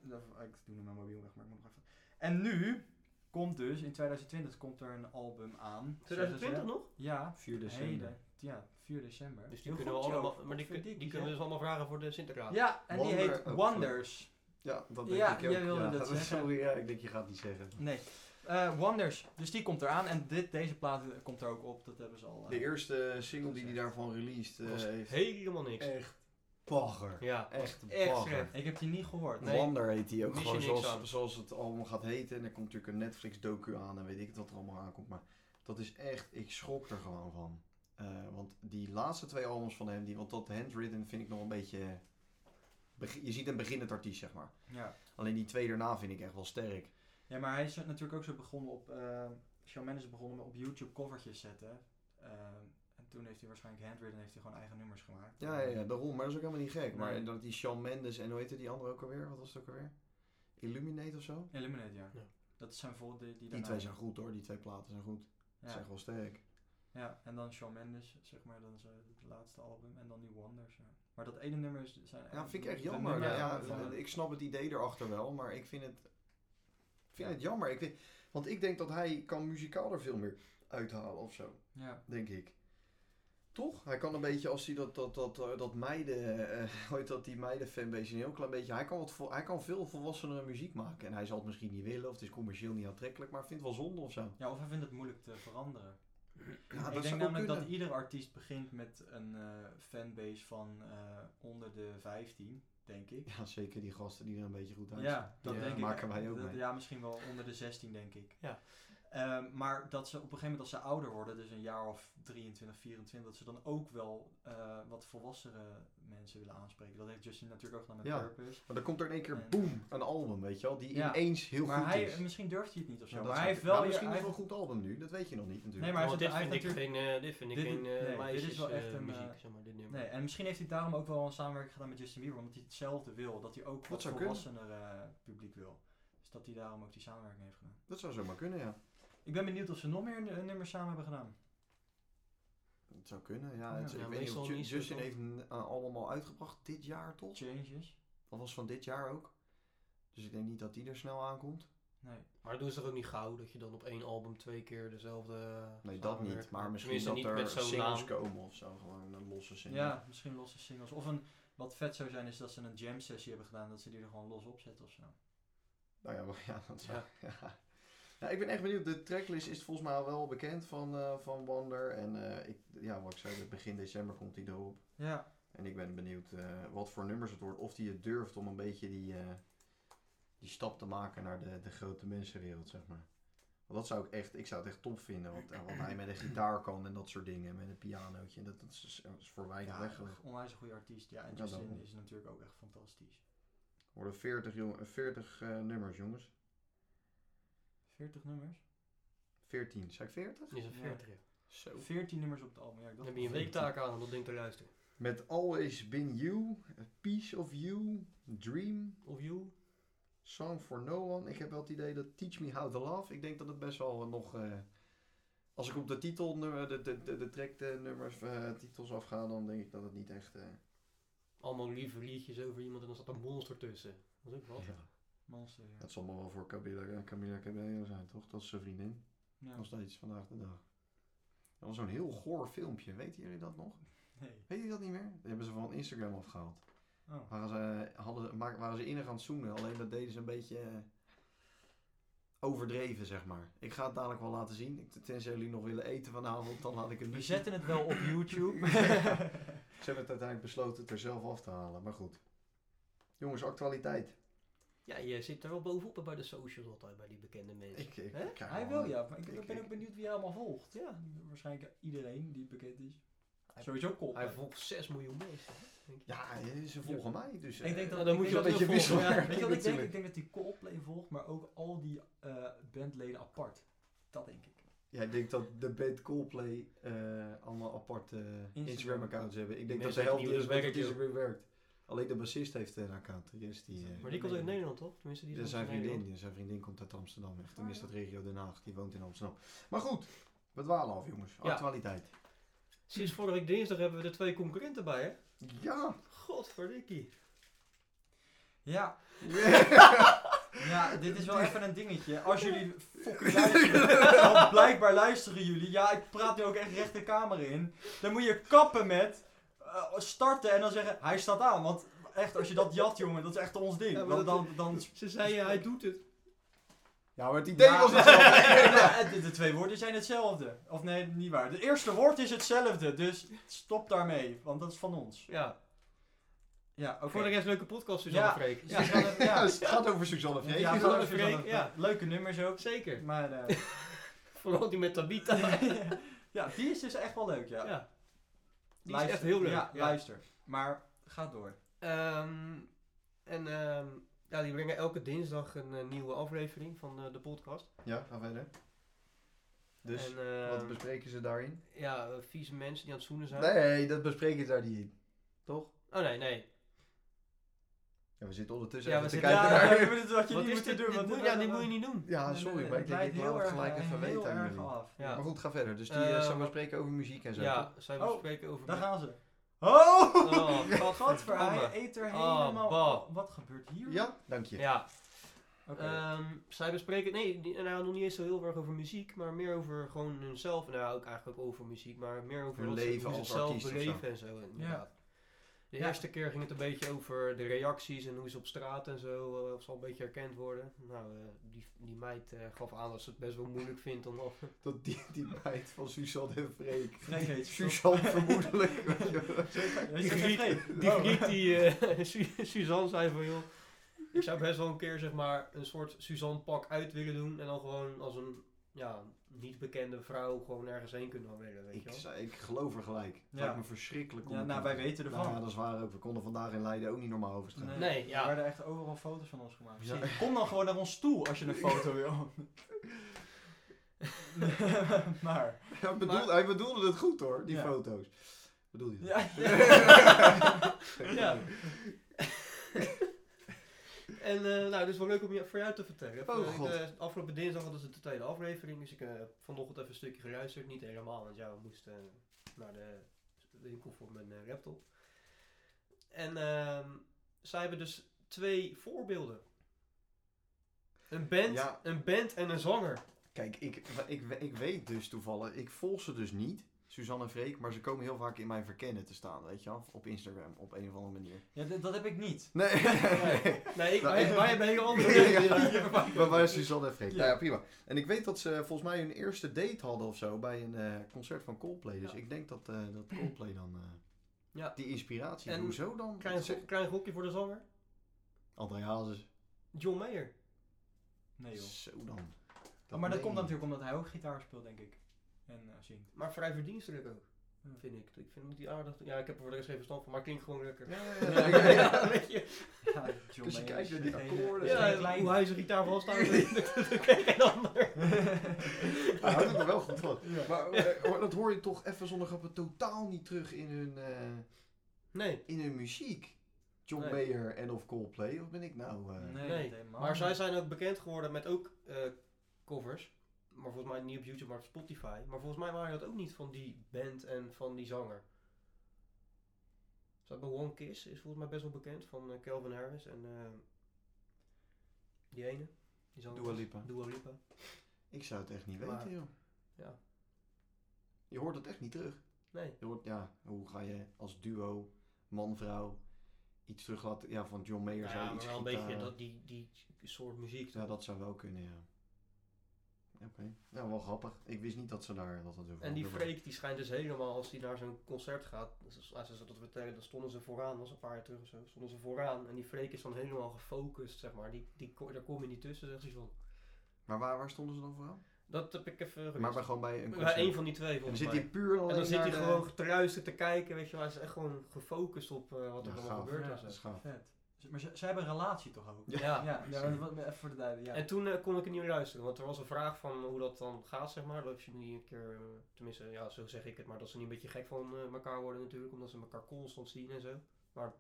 Speaker 1: doe nu mijn mobiel weg, maar ik moet nog even. En nu komt dus, in 2020 komt er een album aan.
Speaker 3: 2020 nog?
Speaker 1: Ja,
Speaker 2: 4 december.
Speaker 1: heden. Ja, 4 december.
Speaker 5: Dus die
Speaker 1: Heel
Speaker 5: kunnen we
Speaker 1: goed, Jo.
Speaker 5: allemaal, maar die, kun-
Speaker 1: Godverdikkie,
Speaker 5: die kunnen we dus
Speaker 1: hè?
Speaker 5: allemaal vragen voor de Sinterklaas.
Speaker 1: Ja, en die
Speaker 2: Wonder-
Speaker 1: heet
Speaker 2: ook
Speaker 1: Wonders.
Speaker 2: Ja, dat denk
Speaker 1: Ja,
Speaker 2: ik ook.
Speaker 1: jij wilde dat
Speaker 2: is-
Speaker 1: zeggen.
Speaker 2: Sorry, ja, ik denk je gaat niet zeggen.
Speaker 1: Nee. Eh, Wonders. Dus die komt eraan. En dit, deze plaat eh, komt er ook op. Dat hebben ze al. eh,
Speaker 2: De eerste single die hij daarvan released eh,
Speaker 5: was
Speaker 2: heeft...
Speaker 5: helemaal niks.
Speaker 2: Echt bagger.
Speaker 5: Ja,
Speaker 2: Echt
Speaker 5: echt
Speaker 2: bagger.
Speaker 5: slecht.
Speaker 1: Ik heb die niet gehoord.
Speaker 5: Nee.
Speaker 2: Wander heet die ook
Speaker 5: Mis je
Speaker 2: gewoon
Speaker 5: niks
Speaker 2: zoals,
Speaker 5: aan.
Speaker 2: zoals het allemaal gaat heten. En er komt natuurlijk een Netflix docu aan en weet ik het wat er allemaal aankomt. Maar dat is echt, ik schrok er gewoon van. Eh, want die laatste twee albums van hem, die, want dat handwritten vind ik nog een beetje... beg- Je ziet een beginnend artiest, zeg maar.
Speaker 1: Ja.
Speaker 2: Alleen die twee daarna vind ik echt wel sterk.
Speaker 1: ja, maar hij is natuurlijk ook zo begonnen op. eh Shawn Mendes is begonnen met op YouTube covertjes zetten. Ehm, en toen heeft hij waarschijnlijk handwritten heeft hij gewoon eigen nummers gemaakt.
Speaker 2: Ja, ja, ja, daarom. Maar dat is ook helemaal niet gek. Maar
Speaker 1: Nee.
Speaker 2: dat die Shawn Mendes en hoe heette die andere ook alweer? Wat was het ook alweer? Illuminate of zo?
Speaker 1: Eliminate, ja.
Speaker 5: Ja.
Speaker 1: Dat zijn vol die, die,
Speaker 2: Die
Speaker 1: daarna-
Speaker 2: twee zijn goed hoor, die twee platen zijn goed. Ze
Speaker 1: Ja.
Speaker 2: zijn gewoon sterk.
Speaker 1: Ja, en dan Shawn Mendes, zeg maar, dan is eh, het laatste album. En dan die Wonders, ja. Maar dat ene nummer is, zijn...
Speaker 2: Ja, vind ik echt
Speaker 1: de
Speaker 2: jammer.
Speaker 1: nummers
Speaker 2: Ja, ja,
Speaker 1: van het-
Speaker 2: ik snap het idee erachter wel, maar ik vind het, ik vind het jammer. Ik weet, want ik denk dat hij kan muzikaal er veel meer uithalen of zo,
Speaker 1: ja.
Speaker 2: denk ik. Toch? Hij kan een beetje, als hij dat, dat, dat, eh, dat meiden, eh, hoe heet dat, die meiden fanbase een heel klein beetje, hij kan, wat, vol- hij kan veel volwassenere muziek maken. En hij zal het misschien niet willen, of het is commercieel niet aantrekkelijk, maar ik vind het wel zonde of zo.
Speaker 1: ja, of hij vindt het moeilijk te veranderen.
Speaker 2: Ja,
Speaker 1: ik denk namelijk dat ieder artiest begint met een eh, fanbase van eh, onder de 15, denk ik.
Speaker 2: Ja, zeker die gasten die er een beetje goed uitzien.
Speaker 1: Ja, dat
Speaker 5: Ja,
Speaker 1: denk ik.
Speaker 2: maken wij ook
Speaker 1: Dat-
Speaker 2: mee.
Speaker 1: Ja, misschien wel onder de 16, denk ik.
Speaker 5: Ja.
Speaker 1: Ehm, maar dat ze op een gegeven moment als ze ouder worden, dus een jaar of 23, 24, dat ze dan ook wel eh, wat volwassere mensen willen aanspreken. Dat heeft Justin natuurlijk ook gedaan met
Speaker 2: Ja.
Speaker 1: Purpose.
Speaker 2: Maar dan komt er in één keer,
Speaker 1: En-
Speaker 2: boem, een album, weet je wel, die
Speaker 1: Ja.
Speaker 2: ineens heel
Speaker 1: Maar
Speaker 2: goed
Speaker 1: hij,
Speaker 2: is.
Speaker 1: misschien durft hij het niet of zo.
Speaker 2: Ja, dat
Speaker 1: maar
Speaker 2: zou
Speaker 1: hij heeft wel
Speaker 2: kunnen. Maar
Speaker 1: weer-
Speaker 2: misschien
Speaker 1: hij
Speaker 2: nog
Speaker 1: heeft-
Speaker 2: een goed album nu, dat weet je nog niet natuurlijk.
Speaker 1: Nee, maar hij
Speaker 5: Want
Speaker 1: heeft
Speaker 5: dit
Speaker 1: het-
Speaker 5: vind
Speaker 1: hij
Speaker 5: ik
Speaker 1: heeft
Speaker 5: geen, eh, dit vind ik
Speaker 1: Dit-
Speaker 5: geen
Speaker 1: nee, dit
Speaker 5: eh
Speaker 1: is
Speaker 5: meisjes
Speaker 1: wel echt
Speaker 5: eh,
Speaker 1: een,
Speaker 5: muziek,
Speaker 1: eh,
Speaker 5: zeg maar, dit nummer.
Speaker 1: Nee, en misschien heeft hij daarom ook wel een samenwerking gedaan met Justin Bieber, omdat hij hetzelfde wil. Dat hij ook wat
Speaker 2: zou kunnen.
Speaker 1: volwassener eh, publiek wil. Dus dat hij daarom ook die samenwerking heeft gedaan.
Speaker 2: Dat zou zomaar kunnen, ja.
Speaker 1: Ik ben benieuwd of ze nog meer nu- nummers samen hebben gedaan.
Speaker 2: Dat zou kunnen, ja.
Speaker 1: Ja,
Speaker 2: Het-
Speaker 5: ja,
Speaker 2: ik weet niet
Speaker 5: meestal
Speaker 2: of Ju-
Speaker 5: niet,
Speaker 2: Justin
Speaker 5: toch?
Speaker 2: heeft n- eh, allemaal uitgebracht dit jaar, toch?
Speaker 1: Changes.
Speaker 2: Dat was van dit jaar ook. Dus ik denk niet dat die er snel aankomt.
Speaker 1: Nee.
Speaker 5: Maar doen ze toch ook niet gauw dat je dan op één album twee keer dezelfde eh,
Speaker 2: Nee, dat niet.
Speaker 5: samenwerking-
Speaker 2: Maar misschien
Speaker 5: Tenminste,
Speaker 2: dat
Speaker 5: niet
Speaker 2: er
Speaker 5: met zo'n
Speaker 2: singles
Speaker 5: naam.
Speaker 2: komen of zo. Gewoon een losse single.
Speaker 1: Ja, misschien losse singles. Of een, wat vet zou zijn is dat ze een jam sessie hebben gedaan, dat ze die er gewoon los op zetten of zo.
Speaker 2: Nou ja, maar- ja dat zou...
Speaker 5: Ja.
Speaker 2: Ja. Ja, ik ben echt benieuwd. De tracklist is volgens mij wel bekend van, eh van Wander. En eh, ik, ja, wat ik zei, begin december komt hij erop.
Speaker 1: Ja.
Speaker 2: En ik ben benieuwd eh, wat voor nummers het wordt. Of die het durft om een beetje die, eh, die stap te maken naar de, de grote mensenwereld, zeg maar. Want dat zou ik echt, ik zou het echt top vinden. Want, eh, wat hij met een gitaar kan en dat soort dingen. Met een pianootje. Dat, dat is, is voor weinig
Speaker 1: Ja,
Speaker 2: weg.
Speaker 1: een onwijs een goede artiest. Ja, en
Speaker 2: Ja,
Speaker 1: Justin
Speaker 2: daarom.
Speaker 1: is natuurlijk ook echt fantastisch.
Speaker 2: worden 40, jongen, 40 eh, nummers, jongens.
Speaker 1: 40 nummers?
Speaker 2: 14. Zei ik 40?
Speaker 3: Is een
Speaker 1: Ja.
Speaker 3: 40. ja.
Speaker 1: Zo. 14 nummers op het album. Ja, ik
Speaker 3: Dan
Speaker 1: dacht
Speaker 3: heb je een
Speaker 1: wel
Speaker 3: weektaak aan om dat ding te luisteren.
Speaker 2: Met Always Been You, A Piece of You, Dream,
Speaker 3: Of You.
Speaker 2: Song for No One. Ik heb wel het idee dat Teach Me How to Love, ik denk dat het best wel nog... eh, als ik op de titel, de, de, de, de track de nummers, eh, titels afga, dan denk ik dat het niet echt... eh,
Speaker 3: Allemaal lieve liedjes over iemand en dan zat een monster tussen. Dat is ook wat.
Speaker 1: Monster, ja.
Speaker 2: Dat zal maar wel voor Camilla, eh, Camilla Cabello zijn, toch? Dat is zijn vriendin.
Speaker 1: Ja.
Speaker 2: Nog steeds, vandaag de dag. Dat was zo'n heel goor filmpje, weten jullie dat nog?
Speaker 1: Nee.
Speaker 2: Weet je dat niet meer? Dat hebben ze van Instagram afgehaald.
Speaker 1: Oh.
Speaker 2: Waren ze, hadden, ze- maak- waren ze innig aan het zoenen, alleen dat deden ze een beetje eh, overdreven, zeg maar. Ik ga het dadelijk wel laten zien. Ik- Tenzij jullie nog willen eten vanavond, dan laat ik het
Speaker 1: We
Speaker 2: niet
Speaker 1: zetten het wel op YouTube.
Speaker 2: zien. Ze hebben het uiteindelijk besloten het er zelf af te halen, maar goed. Jongens, actualiteit.
Speaker 3: Ja, je zit er wel bovenop bij de socials altijd, bij die bekende mensen.
Speaker 2: Ik, ik,
Speaker 3: Hè?
Speaker 2: ik krijg
Speaker 1: Hij
Speaker 2: wel-
Speaker 1: wel, ja. Maar ik,
Speaker 2: Ik-
Speaker 1: ik ben
Speaker 2: ik-
Speaker 1: ook benieuwd wie hij allemaal volgt. Ja, waarschijnlijk iedereen die bekend is.
Speaker 3: Hij-
Speaker 1: Sowieso kop.
Speaker 3: Hij volgt 6 miljoen mensen. hè, denk ik.
Speaker 2: Ja, eh, ze volgen mij, dus...
Speaker 1: Ik denk
Speaker 2: eh,
Speaker 1: dat
Speaker 3: Ja, dan moet
Speaker 1: ik
Speaker 3: je
Speaker 1: denk
Speaker 3: dat
Speaker 2: een beetje
Speaker 1: volgen.
Speaker 2: wisselen.
Speaker 1: Ja, Weet je wat ik denk?
Speaker 2: Natuurlijk.
Speaker 1: Ik denk dat hij Coldplay volgt, maar ook al die eh, bandleden apart. Dat denk ik.
Speaker 2: Jij denkt dat de band Coldplay eh, allemaal aparte Instagram-accounts hebben. Ik denk
Speaker 3: mensen
Speaker 2: dat de helft
Speaker 3: weten
Speaker 2: is
Speaker 3: niet hoe
Speaker 2: met
Speaker 3: dat werkt,
Speaker 2: Instagram werkt. Alleen de bassist heeft een account. Die is die, eh,
Speaker 3: Maar die komt uit Nederland, toch? Tenminste, die
Speaker 2: dat is
Speaker 3: van
Speaker 2: zijn vriendin. Ja, Zijn vriendin komt uit Amsterdam. Of tenminste uit regio Den Haag. Die woont in Amsterdam. Maar goed, we dwalen af jongens.
Speaker 3: Ja.
Speaker 2: Actualiteit.
Speaker 3: Sinds vorige week dinsdag hebben we er twee concurrenten bij, hè?
Speaker 2: Ja!
Speaker 3: Godverdikkie.
Speaker 1: Ja, ja dit is wel even een dingetje. Als jullie fucking luisteren, want blijkbaar luisteren jullie. Ja, ik praat nu ook echt recht de kamer in. Dan moet je kappen met eh, starten en dan zeggen, hij staat aan. Want echt, als je dat jat, jongen, dat is echt ons ding.
Speaker 3: Ja, maar
Speaker 1: dan,
Speaker 3: dat-
Speaker 1: dan, dan...
Speaker 3: Ze zeiden, hij doet het.
Speaker 2: Ja, maar het idee
Speaker 1: Ja,
Speaker 2: was
Speaker 1: maar-
Speaker 2: hetzelfde.
Speaker 1: Ja, de, de twee woorden zijn hetzelfde. Of nee, niet waar. Het eerste woord is hetzelfde, dus stop daarmee, want dat is van ons.
Speaker 3: Ja,
Speaker 1: Ja, oké.
Speaker 3: voor de rest leuke podcast, Suzanne
Speaker 1: Ja.
Speaker 3: Freek.
Speaker 1: Ja, Suzanne- ja.
Speaker 2: Ja, het gaat over Suzanne Vreek.
Speaker 1: Ja,
Speaker 3: Suzanne
Speaker 1: gewoon even
Speaker 3: Freek,
Speaker 1: dan-
Speaker 3: ja.
Speaker 1: Leuke nummers ook.
Speaker 3: Zeker.
Speaker 1: Maar eh,
Speaker 3: Vooral die met Tabita.
Speaker 1: ja, die is dus echt wel leuk, ja.
Speaker 3: Ja. Die is echt heel leuk.
Speaker 1: Ja,
Speaker 3: Ja.
Speaker 1: luister. Maar ga door.
Speaker 3: Ehm, en ehm, ja, die brengen elke dinsdag een eh, nieuwe aflevering van eh, de podcast.
Speaker 2: Ja, ga verder. Dus,
Speaker 3: en, ehm,
Speaker 2: wat bespreken ze daarin?
Speaker 3: Ja, eh, vieze mensen die aan het zoenen zijn.
Speaker 2: Nee, dat bespreken ze daar niet in. Toch?
Speaker 3: Oh nee, nee.
Speaker 2: Ja, we zitten ondertussen
Speaker 3: Ja,
Speaker 2: even
Speaker 3: we
Speaker 2: te
Speaker 3: zitten-
Speaker 2: kijken
Speaker 3: ja,
Speaker 2: naar...
Speaker 1: dat is wat je
Speaker 3: Wat
Speaker 1: niet
Speaker 3: is
Speaker 1: moet
Speaker 3: dit?
Speaker 1: doen.
Speaker 3: dit
Speaker 1: want
Speaker 3: moet,
Speaker 1: dit-
Speaker 3: ja, dit moet je niet doen.
Speaker 2: Ja,
Speaker 1: Nee,
Speaker 2: sorry,
Speaker 1: nee,
Speaker 2: maar
Speaker 1: het
Speaker 2: ik denk
Speaker 1: leidt
Speaker 2: ik laat
Speaker 1: heel
Speaker 2: het
Speaker 1: erg- eh,
Speaker 2: gelijk even
Speaker 1: heel
Speaker 2: weten aan
Speaker 1: erg
Speaker 2: jullie.
Speaker 1: af.
Speaker 3: Ja.
Speaker 2: Maar goed, ga verder. Dus die
Speaker 3: Eh,
Speaker 2: eh, zijn we
Speaker 3: wat-
Speaker 2: spreken over muziek en zo.
Speaker 3: Ja, zij
Speaker 1: Oh,
Speaker 3: bespreken over...
Speaker 1: Daar gaan ze. Oh!
Speaker 3: Oh,
Speaker 1: Godver,
Speaker 3: godverdomme.
Speaker 1: hij eet er
Speaker 3: Oh,
Speaker 1: helemaal...
Speaker 3: bah.
Speaker 1: wat gebeurt hier?
Speaker 2: toch? Ja, dank je.
Speaker 3: Ja,
Speaker 1: Oké.
Speaker 3: ehm, zij bespreken... Nee, die- en hij had nog niet eens zo heel erg over muziek, maar meer over gewoon hunzelf. Nou, ook eigenlijk ook over muziek, maar meer over
Speaker 2: Hun
Speaker 3: wat ze-
Speaker 2: leven
Speaker 3: hoe ze
Speaker 2: als
Speaker 3: het zelf
Speaker 2: artiest of zo.
Speaker 3: beleven en zo. inderdaad. De
Speaker 1: Ja.
Speaker 3: eerste keer ging het een beetje over de reacties en hoe ze op straat en zo, eh, of ze al een beetje herkend worden. Nou, eh, die, die meid eh, gaf aan dat ze het best wel moeilijk vindt om al...
Speaker 2: Dat die, die meid van Suzanne en Freek.
Speaker 1: Freek heet ze,
Speaker 2: Suzanne vermoedelijk. weet je wel.
Speaker 1: Weet
Speaker 3: Die
Speaker 1: je,
Speaker 3: griet,
Speaker 1: geen
Speaker 3: die,
Speaker 1: vreemd. Oh.
Speaker 3: griet die eh, Su- Suzanne zei van joh, ik zou best wel een keer zeg maar een soort Suzanne pak uit willen doen en dan gewoon als een ja, niet bekende vrouw gewoon ergens heen kunnen willen, weet je
Speaker 2: ik,
Speaker 3: wel.
Speaker 2: zei- ik geloof er gelijk. Het
Speaker 1: Ja.
Speaker 2: lijkt me verschrikkelijk. om
Speaker 1: Ja,
Speaker 2: het
Speaker 1: nou,
Speaker 2: te doen.
Speaker 1: wij weten ervan.
Speaker 2: Nou, ja, dat is waar ook. We konden vandaag in Leiden ook niet normaal over straat.
Speaker 3: Nee, ja.
Speaker 1: Er werden echt overal foto's van ons gemaakt.
Speaker 2: Ja.
Speaker 1: Precies. Kom dan gewoon naar ons toe als je een foto wil. maar...
Speaker 2: Hij, bedoelde, hij bedoelde het goed hoor, die
Speaker 1: Ja.
Speaker 2: foto's. Bedoel je?
Speaker 1: Ja.
Speaker 3: Ja. en eh, nou, dat is wel leuk om je, voor jou te vertellen.
Speaker 2: Oh,
Speaker 3: Eh,
Speaker 2: God.
Speaker 3: de, afgelopen dinsdag hadden ze de tweede aflevering, dus ik heb vanochtend even een stukje geluisterd. Niet helemaal, want ja, we moesten eh, naar de winkel voor mijn eh, laptop. En ehm, zij hebben dus twee voorbeelden. Een band,
Speaker 2: Ja.
Speaker 3: een band en een zanger.
Speaker 2: Kijk, ik, ik, ik weet dus toevallig, ik volg ze dus niet, Suzanne en Freek, maar ze komen heel vaak in mijn verkennen te staan, weet je wel, op Instagram, op een of andere manier.
Speaker 1: Ja, d- dat heb ik niet.
Speaker 2: Nee,
Speaker 3: Nee, nee
Speaker 2: Nou,
Speaker 3: ik, wij,
Speaker 2: ik-
Speaker 3: wij hebben hele andere
Speaker 2: Ja,
Speaker 3: dingen.
Speaker 2: maar waar is Suzanne en Freek?
Speaker 1: Ja.
Speaker 2: Nou ja, prima. En ik weet dat ze volgens mij hun eerste date hadden of zo bij een eh, concert van Coldplay, dus
Speaker 3: Ja.
Speaker 2: ik denk dat, eh, dat Coldplay dan eh,
Speaker 3: Ja.
Speaker 2: die inspiratie,
Speaker 3: En
Speaker 2: hoezo dan?
Speaker 3: Klein,
Speaker 2: Ze-
Speaker 3: klein gokje voor de zanger.
Speaker 2: André Hazes,
Speaker 3: John Mayer.
Speaker 1: Nee joh.
Speaker 2: zo dan.
Speaker 1: maar dat
Speaker 2: meen
Speaker 1: komt
Speaker 2: je.
Speaker 1: natuurlijk omdat hij ook gitaar speelt, denk ik. En eh, zingt.
Speaker 3: Maar vrij verdienstelijk ook,
Speaker 1: Ja.
Speaker 3: vind ik. Ik vind hem die aardig. Ja, ik heb er voor de rest geen verstand van, maar klinkt gewoon lekker.
Speaker 2: Ja, ja,
Speaker 3: Ja,
Speaker 2: ja, ja.
Speaker 3: weet je.
Speaker 1: Ja, John
Speaker 2: Dus je
Speaker 1: Mayer is
Speaker 2: kijkt naar die
Speaker 1: een hele-
Speaker 2: akkoorden.
Speaker 1: is een
Speaker 3: Ja,
Speaker 1: klein-
Speaker 3: hoe hij zijn gitaar vasthoudt, dat kan geen ander.
Speaker 2: Hij houdt het er wel goed van.
Speaker 1: Ja.
Speaker 2: Maar eh, hoor- dat hoor je toch even zonder grappen totaal niet terug in hun, eh,
Speaker 3: Nee,
Speaker 2: in hun muziek. John
Speaker 3: Nee.
Speaker 2: Mayer en of Coldplay, of ben ik nou... eh,
Speaker 1: Nee,
Speaker 3: Nee,
Speaker 1: dat helemaal
Speaker 3: maar zij
Speaker 1: niet.
Speaker 3: zijn ook bekend geworden met ook eh, covers. Maar volgens mij niet op YouTube, maar op Spotify. Maar volgens mij waren dat ook niet van die band en van die zanger. Zat bij One Kiss, is volgens mij best wel bekend, van eh, Calvin Harris en eh, die ene. Die zanger.
Speaker 2: Dua Lipa.
Speaker 3: Dua Lipa.
Speaker 2: Ik zou het echt niet
Speaker 3: Maar-
Speaker 2: weten, joh.
Speaker 3: ja.
Speaker 2: Je hoort het echt niet terug.
Speaker 3: Nee.
Speaker 2: Je hoort, ja, hoe ga je als duo, man-vrouw, iets terug laten... Ja, van John Mayer
Speaker 3: Nou
Speaker 2: zou
Speaker 3: ja, maar
Speaker 2: iets
Speaker 3: wel een beetje
Speaker 2: gitaar-
Speaker 3: dat, die, die soort muziek.
Speaker 2: Ja, dat zou wel kunnen, ja. Oké. Nou, wel grappig. Ik wist niet dat ze daar... Dat dat zo
Speaker 3: En die
Speaker 2: veranderd was.
Speaker 3: Freek die schijnt dus helemaal, als hij naar zo'n concert gaat, dus als ze dat vertellen, dan stonden ze vooraan, dat was een paar jaar terug of zo, stonden ze vooraan. En die Freek is dan helemaal gefocust, zeg maar. Die, die, ko- daar kom je niet tussen, zegt hij van.
Speaker 2: Maar waar, waar stonden ze dan vooral?
Speaker 3: Dat heb ik even gemist.
Speaker 2: Maar, maar gewoon bij een
Speaker 3: Bij
Speaker 2: concert.
Speaker 3: één van die twee,
Speaker 2: En dan
Speaker 3: volgens
Speaker 2: zit
Speaker 3: mij.
Speaker 2: hij puur alleen
Speaker 3: En dan zit
Speaker 2: naar
Speaker 3: hij
Speaker 2: de-
Speaker 3: gewoon getruisterd te kijken, weet je wel. Hij is echt gewoon gefocust op eh, wat er
Speaker 2: Ja,
Speaker 3: allemaal
Speaker 2: gaaf.
Speaker 3: gebeurt.
Speaker 1: Ja,
Speaker 3: en zo.
Speaker 2: Dat is gaaf.
Speaker 1: Vet. Z- Maar ze, ze hebben een relatie toch ook?
Speaker 2: Ja.
Speaker 3: Ja.
Speaker 1: ja, ja maar wat- even voor de duidelijkheid. Ja.
Speaker 3: En toen eh, kon ik het niet meer luisteren, want er was een vraag van hoe dat dan gaat, zeg maar. Dat je niet een keer, eh, tenminste, ja, zo zeg ik het, maar dat ze niet een beetje gek van eh, elkaar worden natuurlijk, omdat ze elkaar constant zien en zo. Maar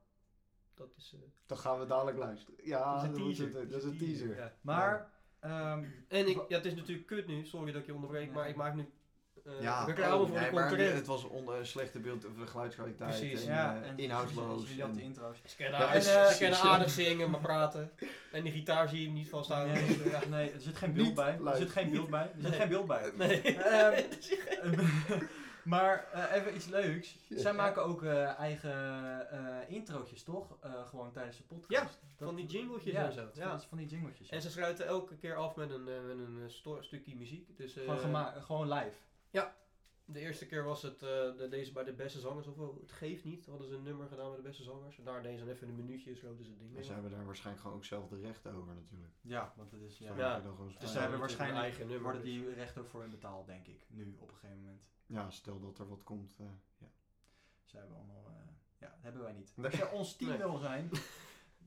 Speaker 3: dat is, eh,
Speaker 2: Dan gaan we dadelijk luisteren. Ja,
Speaker 3: dat is een
Speaker 2: dan moet
Speaker 3: teaser.
Speaker 2: het- dat is een teaser.
Speaker 3: Ja.
Speaker 1: Maar, ehm,
Speaker 3: En ik, ja, het is natuurlijk kut nu, sorry dat ik je onderbreek,
Speaker 1: Ja.
Speaker 3: maar ik maak nu. eh
Speaker 2: Ja,
Speaker 3: ik ben
Speaker 2: oh,
Speaker 3: klaar voor
Speaker 2: nee,
Speaker 3: de
Speaker 2: maar
Speaker 3: concurrent.
Speaker 2: het was onder slechte beeld, eh, geluidskwaliteit
Speaker 3: Precies,
Speaker 2: en,
Speaker 1: ja,
Speaker 2: eh,
Speaker 1: en
Speaker 2: inhoudsloos.
Speaker 1: Jullie hadden
Speaker 2: en-
Speaker 1: intro's.
Speaker 3: Ze kennen
Speaker 2: Ja,
Speaker 3: aardig-
Speaker 1: en, eh,
Speaker 3: ze kennen
Speaker 2: precies, ja.
Speaker 3: aardig zingen, maar praten. En die gitaar zie je hem niet vasthouden.
Speaker 1: Nee,
Speaker 3: dus, eh, ja.
Speaker 1: nee, er zit geen beeld
Speaker 2: Niet
Speaker 1: bij. Er
Speaker 2: live.
Speaker 1: zit geen beeld bij. Er zit
Speaker 3: Nee.
Speaker 1: geen beeld bij.
Speaker 3: Nee.
Speaker 1: Ehm, maar eh, even iets leuks. Zij
Speaker 2: Ja.
Speaker 1: maken ook eh, eigen eh, introotjes, toch? Eh, gewoon tijdens de podcast. Dat-
Speaker 3: van die jingletjes
Speaker 1: ja,
Speaker 3: en zo.
Speaker 1: Ja, van die jingletjes. ja.
Speaker 3: En ze sluiten elke keer af met een, eh, met een eh, sto- stukje muziek. Dus, eh,
Speaker 1: gewoon, gema- gewoon live.
Speaker 3: De eerste keer was het eh, de, deze bij de beste zangers. Of wel, het geeft niet. Hadden ze een nummer gedaan bij de beste zangers. En daar deden ze dan even een minuutje, sloten ze het ding
Speaker 2: Maar
Speaker 3: mee.
Speaker 2: ze hebben daar waarschijnlijk gewoon ook zelf de rechten over natuurlijk.
Speaker 1: Ja, want het is...
Speaker 2: Ja,
Speaker 1: Ja.
Speaker 3: Ja.
Speaker 2: Dan gewoon
Speaker 1: Dus
Speaker 3: Ja,
Speaker 1: ze hebben
Speaker 3: natuurlijk
Speaker 1: waarschijnlijk...
Speaker 3: hun eigen nummer,
Speaker 1: worden
Speaker 3: dus.
Speaker 1: die recht ook voor hun betaald, denk ik. Nu, op een gegeven moment.
Speaker 2: ja, stel dat er wat komt. eh, ja.
Speaker 1: Ze hebben allemaal... eh, ja, dat hebben wij niet.
Speaker 2: Nee.
Speaker 1: Als jij ons team
Speaker 3: Nee.
Speaker 1: wil zijn...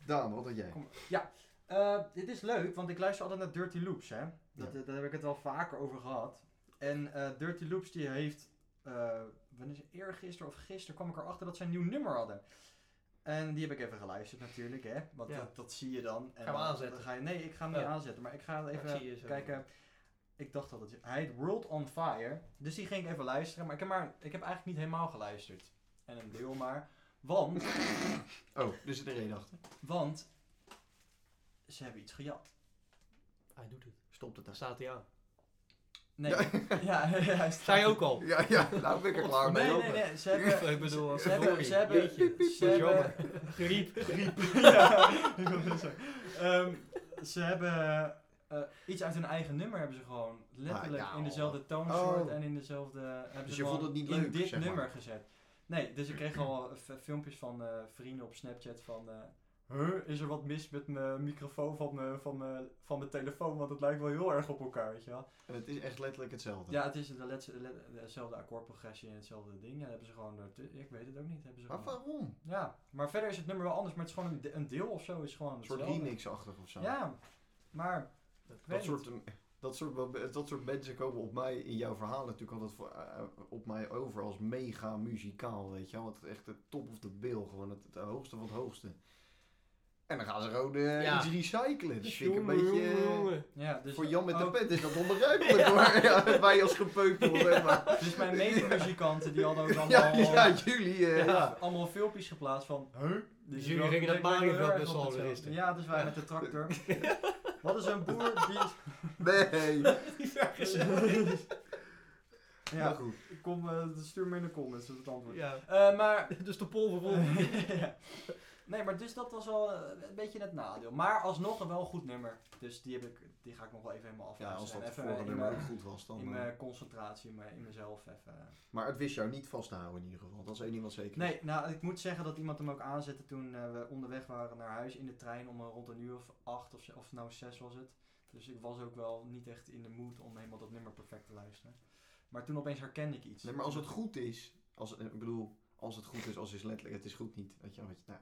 Speaker 2: Daan, wat had jij?
Speaker 1: Kom- Ja, eh, dit is leuk, want ik luister altijd naar Dirty Loops, hè. Dat,
Speaker 2: Ja.
Speaker 1: Daar heb ik het wel vaker over gehad. En eh, Dirty Loops die heeft, eh wanneer is het? eergisteren of gisteren kwam ik erachter dat zij een nieuw nummer hadden. En die heb ik even geluisterd natuurlijk, hè. Want
Speaker 3: Ja.
Speaker 1: dat, dat zie je dan. En
Speaker 3: Ga hem
Speaker 1: dan-
Speaker 3: aanzetten.
Speaker 1: dan ga je, nee, ik ga hem niet
Speaker 3: Oh.
Speaker 1: aanzetten, maar ik ga
Speaker 3: ik zie je
Speaker 1: even
Speaker 3: zo.
Speaker 1: kijken. Ik dacht dat het... Hij heet World on Fire. Dus die ging ik even luisteren, maar ik heb, maar, ik heb eigenlijk niet helemaal geluisterd. En een deel maar. Want
Speaker 2: Oh, dus zit er één achter.
Speaker 1: want ze hebben iets gejat.
Speaker 3: Hij doet het.
Speaker 2: Stop het
Speaker 3: Daar
Speaker 2: daar.
Speaker 3: staat hij aan.
Speaker 1: Nee. Ja, ja, hij staat-
Speaker 3: Zij ook al.
Speaker 2: Ja, ja, nou ben ik er klaar mee.
Speaker 1: Nee, nee,
Speaker 2: Lopen.
Speaker 1: nee. Ze hebben...
Speaker 3: ik bedoel,
Speaker 1: Ze hebben...
Speaker 3: sorry.
Speaker 1: Ze hebben...
Speaker 3: Jeetje, dat is
Speaker 1: Ze hebben...
Speaker 3: jammer. Griep.
Speaker 1: Griep. ja, ik wil het zeggen. Ehm, ze hebben... eh, iets uit hun eigen nummer hebben ze gewoon letterlijk
Speaker 2: Ah, nou.
Speaker 1: in dezelfde toonsoort
Speaker 2: Oh.
Speaker 1: en in dezelfde... eh, Hebben
Speaker 2: Dus
Speaker 1: ze
Speaker 2: je vond
Speaker 1: gewoon
Speaker 2: het niet
Speaker 1: in
Speaker 2: leuk,
Speaker 1: dit
Speaker 2: zeg maar.
Speaker 1: nummer gezet. Nee, dus ik kreeg al f- filmpjes van eh, vrienden op Snapchat van... eh, Huh, is er wat mis met mijn microfoon van mijn, van, mijn, van mijn telefoon? Want het lijkt wel heel erg op elkaar, weet je wel.
Speaker 2: En het is echt letterlijk hetzelfde.
Speaker 1: Ja, het is de letse- le- dezelfde akkoordprogressie en hetzelfde ding. Ja, dat hebben ze gewoon. ertu- Ik weet het ook niet. Hebben ze
Speaker 2: Maar
Speaker 1: gewoon,
Speaker 2: waarom?
Speaker 1: ja, maar verder is het nummer wel anders, maar het is gewoon een, de- een deel of zo. Is gewoon
Speaker 2: Een soort
Speaker 1: hetzelfde.
Speaker 2: remix-achtig of zo.
Speaker 1: Ja, maar. ik weet
Speaker 2: Dat
Speaker 1: het.
Speaker 2: soort, dat, soort, dat soort mensen komen op mij in jouw verhalen natuurlijk altijd voor, eh, op mij over als mega muzikaal, weet je wel. Want echt de top of the bill, gewoon het, het hoogste van het hoogste. En dan gaan ze gewoon eh,
Speaker 3: Ja.
Speaker 2: iets recyclen. Dat vind ik een
Speaker 3: Jongen,
Speaker 2: beetje... eh,
Speaker 3: jongen, jongen.
Speaker 1: Ja, dus
Speaker 2: voor Jan met de
Speaker 1: ook-
Speaker 2: pet is dat onbegrijpelijk hoor. Ja, wij als gepeupel. hè, maar-
Speaker 1: Dus mijn medemuzikanten die hadden ook allemaal,
Speaker 2: Ja, ja, jullie. eh,
Speaker 1: ja, allemaal filmpjes geplaatst van. Huh?
Speaker 3: Dus jullie gingen naar Malieveld
Speaker 1: Mario
Speaker 3: met z'n allen gisteren?
Speaker 1: Ja, dus wij met de tractor. Wat is een boer die.
Speaker 2: Nee. Maar
Speaker 1: Ja,
Speaker 2: goed.
Speaker 1: kom, eh, stuur me in de comments dat is het antwoord.
Speaker 3: Ja.
Speaker 1: Eh, maar
Speaker 3: Dus de pol vervolgens.
Speaker 1: Ja. nee, maar dus dat was wel eh, een beetje het nadeel. Maar alsnog een wel een goed nummer. Dus die, heb ik, die ga ik nog wel even helemaal
Speaker 2: Ja, als
Speaker 1: afluisteren.
Speaker 2: dat
Speaker 1: En
Speaker 2: het
Speaker 1: even
Speaker 2: vorige
Speaker 1: in
Speaker 2: nummer ook
Speaker 1: mijn,
Speaker 2: goed was dan...
Speaker 1: in
Speaker 2: eh.
Speaker 1: mijn concentratie, in, mijn, in mezelf even.
Speaker 2: Maar het wist jou niet vast te houden in ieder geval. Dat is één ding wat zeker is.
Speaker 1: Nee, nou, ik moet zeggen dat iemand hem ook aanzette toen eh, we onderweg waren naar huis in de trein om eh, rond een uur of acht of, ze- of nou zes was het. Dus ik was ook wel niet echt in de mood om helemaal dat nummer perfect te luisteren. Maar toen opeens herkende ik iets.
Speaker 2: Nee, maar als het goed is, als, eh, ik bedoel, als het goed is, als is letterlijk, het is goed niet. Weet je, wel, weet je, nou,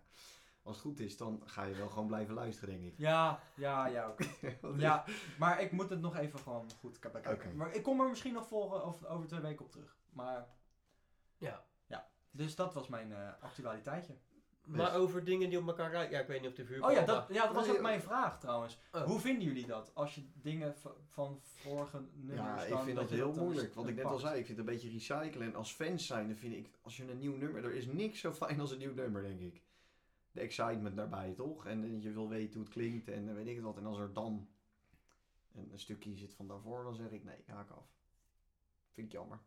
Speaker 2: als het goed is, dan ga je wel gewoon blijven luisteren, denk ik.
Speaker 1: Ja, ja, ja, oké.
Speaker 2: Want
Speaker 1: ja. Maar ik moet het nog even gewoon goed k- bekijken.
Speaker 2: Oké.
Speaker 1: Maar ik kom er misschien nog volgen over, over twee weken op terug. Maar
Speaker 3: Ja.
Speaker 1: ja. Dus dat was mijn eh, actualiteitje.
Speaker 3: Maar over dingen die op elkaar lijken. Ja, ik weet niet of de vuur.
Speaker 1: Oh ja, dat, ja, dat was
Speaker 2: Nee, eh,
Speaker 1: ook mijn vraag trouwens.
Speaker 3: Oh.
Speaker 1: Hoe vinden jullie dat? Als je dingen v- van vorige nummers
Speaker 2: Ja, ik
Speaker 1: dan-
Speaker 2: vind
Speaker 1: je
Speaker 2: dat heel
Speaker 1: dan
Speaker 2: moeilijk. Wat ik net al
Speaker 1: pakt?
Speaker 2: zei, ik vind het een beetje recyclen. En als fans zijn, dan vind ik, als je een nieuw nummer, er is niks zo fijn als een nieuw nummer, denk ik. De excitement daarbij, toch? En, eh, je wil weten hoe het klinkt en eh, weet ik het wat. En als er dan een, een stukje zit van daarvoor, dan zeg ik nee, haak af. Vind ik jammer.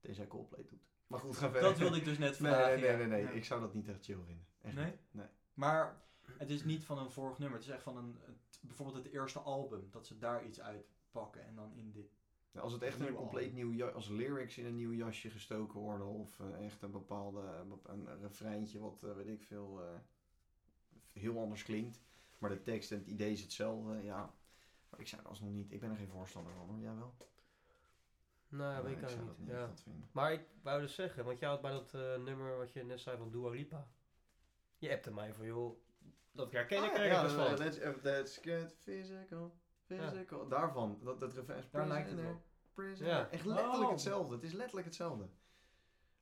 Speaker 2: Tenzij Coldplay doet. Maar goed, ga verder.
Speaker 1: Dat wilde ik dus net
Speaker 2: Nee,
Speaker 1: vragen.
Speaker 2: nee, nee,
Speaker 1: ja.
Speaker 2: nee, nee.
Speaker 1: Ja.
Speaker 2: Ik zou dat niet echt chill vinden. Echt
Speaker 1: Nee?
Speaker 2: niet. Nee.
Speaker 1: Maar het is niet van een vorig nummer. Het is echt van een, het- bijvoorbeeld het eerste album. Dat ze daar iets uitpakken en dan in dit.
Speaker 2: Nou, Als het echt een
Speaker 1: Nieuw
Speaker 2: compleet
Speaker 1: album.
Speaker 2: nieuw ja- als lyrics in een nieuw jasje gestoken worden of eh, echt een bepaalde een bep- een refreintje wat eh, weet ik veel eh, heel anders klinkt, maar de tekst en het idee is hetzelfde, ja. Maar ik zou er alsnog niet, ik ben er geen voorstander van, hoor. Jij wel?
Speaker 3: Nou,
Speaker 2: Nee,
Speaker 3: weet ik
Speaker 2: zou
Speaker 3: eigenlijk
Speaker 2: dat
Speaker 3: niet. Ja.
Speaker 2: dat vinden.
Speaker 3: Maar ik wou dus zeggen, want jij had bij dat eh, nummer wat je net zei van Dua Lipa. Je appte mij van, joh, dat herken ik
Speaker 2: Ah,
Speaker 3: er
Speaker 2: ja,
Speaker 3: ergens
Speaker 2: ja,
Speaker 3: van.
Speaker 2: let's, eh, let's get physical, physical. Daarvan, dat, dat refrein is
Speaker 1: Daar lijkt het
Speaker 2: prisoner,
Speaker 1: wel.
Speaker 2: prisoner.
Speaker 3: Ja.
Speaker 2: Echt letterlijk
Speaker 1: Oh.
Speaker 2: hetzelfde, het is letterlijk hetzelfde.